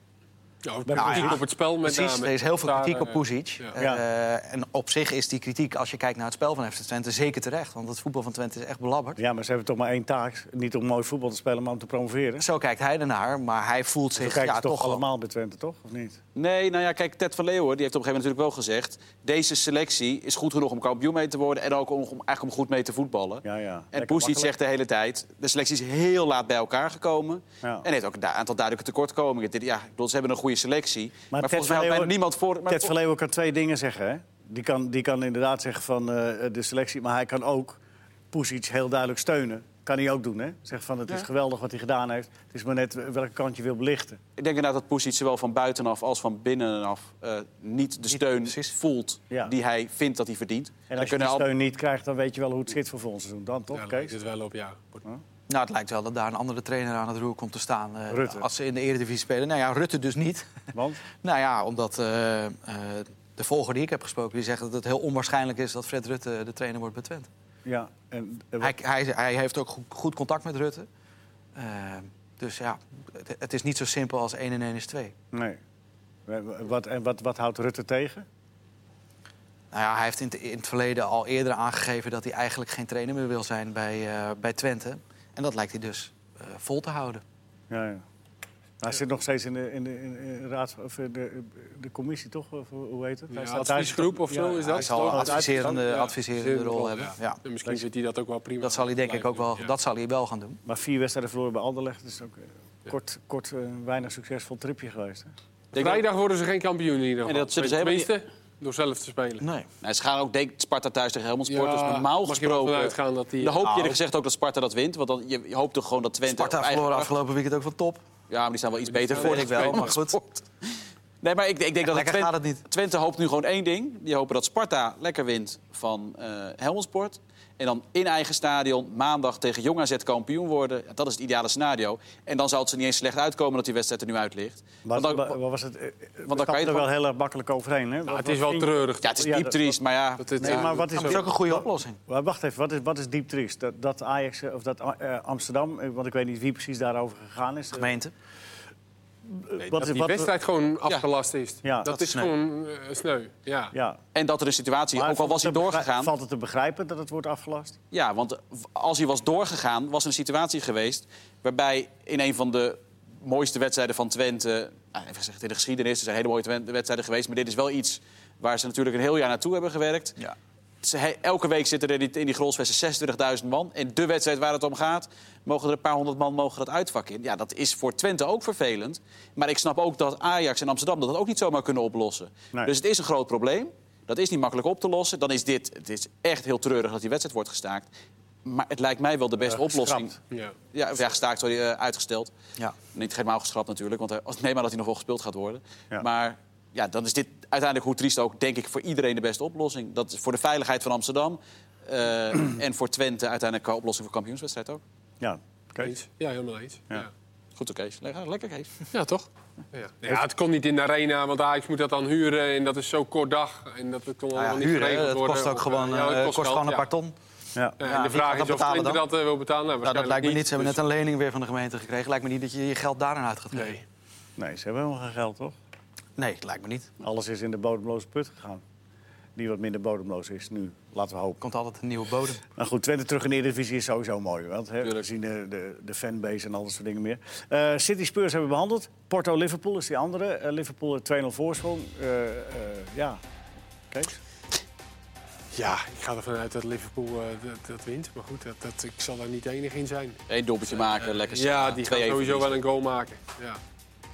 [SPEAKER 3] Ja,
[SPEAKER 1] Nou ja,
[SPEAKER 3] kritiek op het spel met
[SPEAKER 4] Precies,
[SPEAKER 3] name.
[SPEAKER 4] er is heel veel
[SPEAKER 3] Daar,
[SPEAKER 4] kritiek op
[SPEAKER 3] eh,
[SPEAKER 4] Pusic.
[SPEAKER 3] ja.
[SPEAKER 1] Ja.
[SPEAKER 4] Eh, en op zich is die kritiek, als je kijkt naar het spel van FC Twente, zeker terecht. Want het voetbal van Twente is echt belabberd.
[SPEAKER 1] Ja, maar ze hebben toch maar één taak. Niet om mooi voetbal te spelen, maar om te promoveren.
[SPEAKER 4] Zo kijkt hij ernaar, maar hij voelt
[SPEAKER 1] Zo
[SPEAKER 4] zich
[SPEAKER 1] kijken
[SPEAKER 4] ja,
[SPEAKER 1] ze toch,
[SPEAKER 4] toch wel-
[SPEAKER 1] allemaal bij Twente, toch? Of niet?
[SPEAKER 2] Nee, nou ja, kijk, Ted van Leeuwen die heeft op een gegeven moment natuurlijk wel gezegd... deze selectie is goed genoeg om kampioen mee te worden... en ook om, om- eigenlijk om goed mee te voetballen.
[SPEAKER 1] Ja, ja.
[SPEAKER 2] En
[SPEAKER 1] Lekker
[SPEAKER 2] Poesiet
[SPEAKER 1] makkelijk.
[SPEAKER 2] zegt de hele tijd, de selectie is heel laat bij elkaar gekomen.
[SPEAKER 1] Ja.
[SPEAKER 2] En heeft ook een da- aantal duidelijke tekortkomingen. Dit- Ja, ik bedoel, ze hebben een goede selectie. Maar,
[SPEAKER 1] Ted
[SPEAKER 2] volgens mij
[SPEAKER 1] van
[SPEAKER 2] had bijna
[SPEAKER 1] Leeuwen-
[SPEAKER 2] niemand voor... Maar
[SPEAKER 1] Ted van Leeuwen kan twee dingen zeggen. Hè? Die, kan, die kan inderdaad zeggen van eh, de selectie. Maar hij kan ook Poesic heel duidelijk steunen. Kan hij ook doen, hè? Zeggen van het is geweldig wat hij gedaan heeft. Het is maar net eh, welke kant je wil belichten.
[SPEAKER 2] Ik denk inderdaad dat Poesiet zowel van buitenaf als van binnenaf... eh, niet de steun
[SPEAKER 4] precies.
[SPEAKER 2] voelt
[SPEAKER 1] Ja.
[SPEAKER 2] die hij vindt dat hij verdient.
[SPEAKER 1] En als je
[SPEAKER 2] Dan
[SPEAKER 1] die
[SPEAKER 2] kunnen al-
[SPEAKER 1] steun niet krijgt, dan weet je wel hoe het zit voor volgend seizoen. Dan toch,
[SPEAKER 3] Daar lijkt
[SPEAKER 1] Kees?
[SPEAKER 3] het wel op, ja.
[SPEAKER 4] Nou, het lijkt wel dat daar een andere trainer aan het roer komt te staan. eh,
[SPEAKER 1] Rutte.
[SPEAKER 4] Als ze in de Eredivisie spelen. Nou ja, Rutte dus niet.
[SPEAKER 1] Want?
[SPEAKER 4] Nou ja, omdat eh, eh, de volger die ik heb gesproken... die zegt dat het heel onwaarschijnlijk is dat Fred Rutte de trainer wordt bij Twente.
[SPEAKER 1] Ja. En, eh,
[SPEAKER 4] Hij, hij, hij heeft ook goed, goed contact met Rutte. Eh, dus ja, het, het is niet zo simpel als 1 en 1 is 2.
[SPEAKER 1] nee. Eh, Wat, en wat, wat houdt Rutte tegen?
[SPEAKER 4] Nou ja, hij heeft in het, in het verleden al eerder aangegeven... dat hij eigenlijk geen trainer meer wil zijn bij, eh, bij Twente. En dat lijkt hij dus eh, vol te houden.
[SPEAKER 1] Ja, ja. Hij zit nog steeds in de, in de, in de raad, of in de, de commissie, toch? Of hoe heet het? Hij
[SPEAKER 3] Ja,
[SPEAKER 1] staat daar-
[SPEAKER 3] adviesgroep of zo
[SPEAKER 1] Ja,
[SPEAKER 3] is
[SPEAKER 4] Hij
[SPEAKER 3] dat?
[SPEAKER 4] zal een
[SPEAKER 3] toch?
[SPEAKER 4] adviserende,
[SPEAKER 3] Ja,
[SPEAKER 4] adviserende rol hebben. Ja.
[SPEAKER 3] En Misschien zit hij dat ook wel prima.
[SPEAKER 4] Dat zal hij denk ik ook wel,
[SPEAKER 3] Ja.
[SPEAKER 4] dat zal hij wel gaan doen.
[SPEAKER 1] Maar vier wedstrijden verloren bij Anderlecht. is ook eh, kort, kort eh, weinig succesvol tripje geweest. Hè?
[SPEAKER 2] denk dat-
[SPEAKER 3] Vrijdag worden ze geen kampioen in ieder geval.
[SPEAKER 2] En dat zullen ze helemaal niet-
[SPEAKER 3] Tenminste, door zelf te spelen.
[SPEAKER 4] Nee.
[SPEAKER 2] Nou, ze gaan ook denk ik, Sparta thuis tegen Helmond Sport. dus normaal
[SPEAKER 3] mag je wel
[SPEAKER 2] gesproken.
[SPEAKER 3] vanuit gaan dat die-
[SPEAKER 2] Dan hoop je
[SPEAKER 4] Nou.
[SPEAKER 2] er gezegd ook dat Sparta dat wint. Want dan, je, je hoopt toch gewoon dat Twente. op
[SPEAKER 4] Sparta
[SPEAKER 2] eigen
[SPEAKER 4] verloren
[SPEAKER 2] kracht-
[SPEAKER 4] afgelopen weekend ook van top.
[SPEAKER 2] Ja, maar die staan wel iets beter
[SPEAKER 4] Dat
[SPEAKER 2] voor.
[SPEAKER 4] weet ik wel, maar goed.
[SPEAKER 2] Nee, maar ik, ik denk dat
[SPEAKER 4] Lekker
[SPEAKER 2] Twente,
[SPEAKER 4] gaat het niet.
[SPEAKER 2] Twente hoopt nu gewoon één ding. Die hopen dat Sparta lekker wint van eh Helmond Sport. En dan in eigen stadion maandag tegen Jong AZ kampioen worden. Ja, dat is het ideale scenario. En dan zal het ze niet eens slecht uitkomen dat die wedstrijd er nu uit ligt.
[SPEAKER 1] Maar,
[SPEAKER 2] Want dan-
[SPEAKER 1] maar- maar was het, eh, eh, we
[SPEAKER 2] kan je
[SPEAKER 1] stapten
[SPEAKER 2] het
[SPEAKER 1] er wel
[SPEAKER 2] wel-
[SPEAKER 1] heel erg makkelijk overheen. Hè?
[SPEAKER 3] Nou,
[SPEAKER 1] Wat-
[SPEAKER 3] het is
[SPEAKER 1] wat
[SPEAKER 3] wel
[SPEAKER 1] ging-
[SPEAKER 3] treurig.
[SPEAKER 2] ja, het is
[SPEAKER 1] Ja,
[SPEAKER 2] diep
[SPEAKER 1] dat-
[SPEAKER 2] triest, maar ja.
[SPEAKER 3] Dat het,
[SPEAKER 1] Nee,
[SPEAKER 3] ja,
[SPEAKER 1] maar wat is,
[SPEAKER 4] Dat is ook een goede oplossing.
[SPEAKER 1] Maar Wacht even, wat is, wat is diep triest? Dat, dat Ajax eh, of dat eh, Amsterdam, eh, want ik weet niet wie precies daarover gegaan is. Eh,
[SPEAKER 4] Gemeente.
[SPEAKER 1] wat
[SPEAKER 3] dat
[SPEAKER 1] is-
[SPEAKER 3] die
[SPEAKER 1] wat-
[SPEAKER 3] wedstrijd gewoon afgelast is.
[SPEAKER 1] Ja.
[SPEAKER 3] dat,
[SPEAKER 1] Dat
[SPEAKER 3] is
[SPEAKER 4] is sneu.
[SPEAKER 3] gewoon eh, sneu. Ja.
[SPEAKER 1] Ja.
[SPEAKER 2] En dat er een situatie,
[SPEAKER 1] Maar
[SPEAKER 2] ook al
[SPEAKER 1] valt
[SPEAKER 2] was hij
[SPEAKER 1] het te begrijpen-
[SPEAKER 2] doorgegaan.
[SPEAKER 1] Valt het te begrijpen dat het wordt afgelast?
[SPEAKER 2] Ja, want als hij was doorgegaan, was er een situatie geweest waarbij in een van de mooiste wedstrijden van Twente, nou, even gezegd in de geschiedenis, er zijn hele mooie Twen- wedstrijden geweest, maar dit is wel iets waar ze natuurlijk een heel jaar naartoe hebben gewerkt.
[SPEAKER 4] Ja.
[SPEAKER 2] Ze- he- elke week zitten er in die, in die grolsvesten 26.000 man. En de wedstrijd waar het om gaat, mogen er een paar honderd man mogen dat uitvak in. Ja, dat is voor Twente ook vervelend. Maar ik snap ook dat Ajax en Amsterdam dat ook niet zomaar kunnen oplossen.
[SPEAKER 1] Nee.
[SPEAKER 2] Dus het is een groot probleem. Dat is niet makkelijk op te lossen. Dan is dit, het is echt heel treurig dat die wedstrijd wordt gestaakt. Maar het lijkt mij wel de beste
[SPEAKER 1] Eh,
[SPEAKER 2] oplossing.
[SPEAKER 1] geschrapt.
[SPEAKER 3] Ja.
[SPEAKER 2] Ja, of ja, gestaakt, sorry, eh, uitgesteld.
[SPEAKER 4] Ja.
[SPEAKER 2] Niet helemaal geschrapt natuurlijk, want hij- als- neem maar dat hij nog wel gespeeld gaat worden.
[SPEAKER 1] Ja.
[SPEAKER 2] Maar ja, dan is dit uiteindelijk, hoe triest ook, denk ik voor iedereen de beste oplossing. Dat is voor de veiligheid van Amsterdam eh, en voor Twente uiteindelijk qua oplossing voor kampioenswedstrijd ook.
[SPEAKER 1] Ja. Kees?
[SPEAKER 3] Eens. ja, helemaal eens.
[SPEAKER 1] Ja.
[SPEAKER 3] Ja.
[SPEAKER 2] Goed oké, Kees. Le- Lekker Kees.
[SPEAKER 3] Ja, toch? Ja. Ja, het kon niet in de arena, want Ajax moet dat dan huren. En dat is zo kort dag. En dat kon
[SPEAKER 4] Nou ja,
[SPEAKER 3] allemaal niet
[SPEAKER 4] huren,
[SPEAKER 3] geregeld
[SPEAKER 4] hè, dat
[SPEAKER 3] worden.
[SPEAKER 4] kost ook
[SPEAKER 3] Of,
[SPEAKER 4] gewoon,
[SPEAKER 3] ja, dat
[SPEAKER 4] eh, kost
[SPEAKER 3] geld,
[SPEAKER 4] gewoon een
[SPEAKER 3] ja.
[SPEAKER 4] paar ton.
[SPEAKER 1] Ja.
[SPEAKER 3] Ja, en
[SPEAKER 4] Ja,
[SPEAKER 3] de
[SPEAKER 4] wie
[SPEAKER 3] vraag
[SPEAKER 4] gaat dat
[SPEAKER 3] is of
[SPEAKER 4] betalen
[SPEAKER 3] Twente
[SPEAKER 4] dan?
[SPEAKER 3] dat eh, wil betalen. Nou,
[SPEAKER 4] Nou,
[SPEAKER 3] waarschijnlijk
[SPEAKER 4] dat lijkt me niet. Ze hebben
[SPEAKER 3] dus-
[SPEAKER 4] net een lening weer van de gemeente gekregen. Lijkt me niet dat je je geld daaraan uit gaat geven.
[SPEAKER 3] Nee.
[SPEAKER 1] Nee, ze hebben helemaal geen geld, toch?
[SPEAKER 4] Nee, lijkt me niet.
[SPEAKER 1] Alles is in de bodemloze put gegaan. Die wat minder bodemloos is nu, laten we hopen.
[SPEAKER 4] Komt altijd een nieuwe bodem.
[SPEAKER 1] Maar goed, Twente terug in de Eredivisie is sowieso mooi. Want hè, we
[SPEAKER 2] Tuurlijk.
[SPEAKER 1] zien de, de, de fanbase en al dat soort dingen meer. Eh, City Spurs hebben we behandeld. Porto-Liverpool is die andere. Eh, Liverpool heeft 2-0 voorsprong. Eh, eh, ja, Kees?
[SPEAKER 3] Ja, ik ga ervan uit dat Liverpool eh, dat, dat wint. Maar goed, dat, dat, ik zal daar niet de enige in zijn.
[SPEAKER 2] Eén doelpuntje maken, lekker
[SPEAKER 3] Ja, die gaat
[SPEAKER 2] twee
[SPEAKER 3] sowieso wel een goal maken. Ja.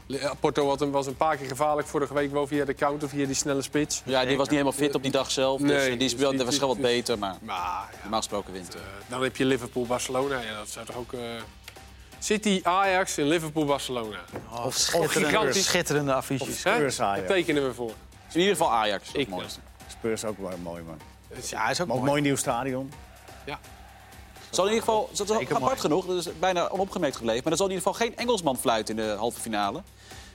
[SPEAKER 3] Le- eh, Porto had hem- was een paar keer gevaarlijk vorige week, wel via de counter, via die snelle spits.
[SPEAKER 2] Ja, die was niet helemaal fit op die dag zelf.
[SPEAKER 3] Nee,
[SPEAKER 2] dus eh, die
[SPEAKER 3] dus
[SPEAKER 2] is wel,
[SPEAKER 3] die-
[SPEAKER 2] was wel wat
[SPEAKER 3] die- die-
[SPEAKER 2] beter, maar
[SPEAKER 3] Maar ja,
[SPEAKER 2] normaal gesproken wint.
[SPEAKER 3] eh, dan heb je Liverpool-Barcelona. Ja, dat zou toch ook... eh, City, Ajax en Liverpool-Barcelona.
[SPEAKER 4] Of
[SPEAKER 3] gigantisch.
[SPEAKER 4] schitterende, schitterende affiches.
[SPEAKER 3] Hè?
[SPEAKER 1] Spurs,
[SPEAKER 3] Daar
[SPEAKER 1] Ajax.
[SPEAKER 3] tekenen we voor.
[SPEAKER 2] Dus in ieder geval Ajax, dat is het
[SPEAKER 3] Ik- eh,
[SPEAKER 2] mooiste.
[SPEAKER 1] Spurs ook wel mooi, man.
[SPEAKER 3] Dus ja,
[SPEAKER 4] Ja, is ook
[SPEAKER 1] Maar ook
[SPEAKER 4] mooi.
[SPEAKER 1] een mooi nieuw stadion.
[SPEAKER 2] Zal in ieder geval, dat is
[SPEAKER 4] Zeker
[SPEAKER 2] apart
[SPEAKER 4] mooi.
[SPEAKER 2] genoeg, dat is bijna onopgemerkt gebleven... maar er zal in ieder geval geen Engelsman fluiten in de halve finale.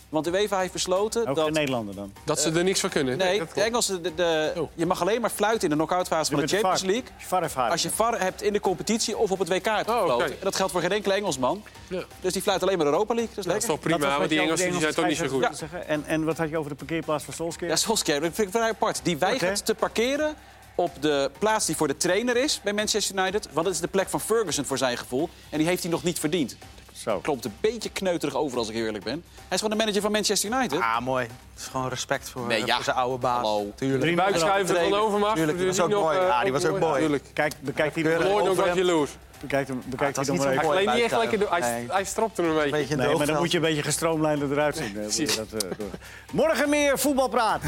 [SPEAKER 2] Want de UEFA heeft besloten
[SPEAKER 1] Ook
[SPEAKER 2] dat...
[SPEAKER 1] geen Nederlander dan.
[SPEAKER 3] Dat
[SPEAKER 4] Eh,
[SPEAKER 3] ze er niks van kunnen.
[SPEAKER 2] Nee,
[SPEAKER 3] dat
[SPEAKER 2] de
[SPEAKER 3] klopt.
[SPEAKER 2] Engelsen, de, de-
[SPEAKER 3] Oh.
[SPEAKER 2] je mag alleen maar fluiten in de knock-outfase van de
[SPEAKER 1] Met de
[SPEAKER 2] Champions
[SPEAKER 1] VAR.
[SPEAKER 2] League...
[SPEAKER 1] Als je VAR ervaring
[SPEAKER 2] als je VAR hebt in de competitie of op het WK hebt
[SPEAKER 3] Oh,
[SPEAKER 2] gefloten.
[SPEAKER 3] oké.
[SPEAKER 2] En dat geldt voor geen enkele Engelsman.
[SPEAKER 3] Ja.
[SPEAKER 2] Dus die fluit alleen maar Europa League. Dat is
[SPEAKER 3] Dat is
[SPEAKER 2] lekker.
[SPEAKER 3] toch
[SPEAKER 1] Dat was
[SPEAKER 3] prima, want
[SPEAKER 1] wat
[SPEAKER 3] die
[SPEAKER 1] je over
[SPEAKER 3] Engelsen die
[SPEAKER 1] de
[SPEAKER 3] zijn toch niet zo goed.
[SPEAKER 1] scheidsrechter wilde zeggen. En, en wat had je over de parkeerplaats van Solskjaer?
[SPEAKER 2] Ja, Solskjaer, dat vind ik vrij apart. Die weigert
[SPEAKER 1] Apart, hè?
[SPEAKER 2] te parkeren op de plaats die voor de trainer is bij Manchester United. Want dat is de plek van Ferguson voor zijn gevoel. En die heeft hij nog niet verdiend.
[SPEAKER 1] Zo.
[SPEAKER 2] Klopt een beetje kneuterig over als ik heel eerlijk ben. Hij is gewoon de manager van Manchester United.
[SPEAKER 4] Ah, mooi. Het is gewoon respect voor,
[SPEAKER 2] Nee,
[SPEAKER 4] eh,
[SPEAKER 2] ja.
[SPEAKER 4] voor zijn oude baas.
[SPEAKER 2] Hallo.
[SPEAKER 4] Tuurlijk.
[SPEAKER 1] Drie
[SPEAKER 3] Buikschuiven van
[SPEAKER 2] Trainer.
[SPEAKER 3] Overmacht.
[SPEAKER 4] Tuurlijk, die
[SPEAKER 3] dus
[SPEAKER 4] was ook
[SPEAKER 3] nog,
[SPEAKER 4] mooi.
[SPEAKER 3] eh,
[SPEAKER 4] Ja, die was ook mooi.
[SPEAKER 3] Tuurlijk.
[SPEAKER 1] Kijk, bekijk die nog-
[SPEAKER 3] Nooit ook wat jaloers.
[SPEAKER 1] bekijk hem, bekijk
[SPEAKER 4] Ah, het
[SPEAKER 1] die
[SPEAKER 4] was
[SPEAKER 1] nog maar
[SPEAKER 4] niet
[SPEAKER 1] even.
[SPEAKER 4] zo
[SPEAKER 3] Hij
[SPEAKER 4] Mooi
[SPEAKER 3] gleed niet echt lekker
[SPEAKER 4] buiten.
[SPEAKER 3] door. Hij,
[SPEAKER 4] Nee.
[SPEAKER 3] hij stropte hem een beetje.
[SPEAKER 4] Beetje in de
[SPEAKER 1] Nee, maar dan
[SPEAKER 4] oogveld.
[SPEAKER 1] moet je een beetje gestroomlijnd eruit zien. hè, wil je dat, eh, door. Morgen meer voetbalpraat.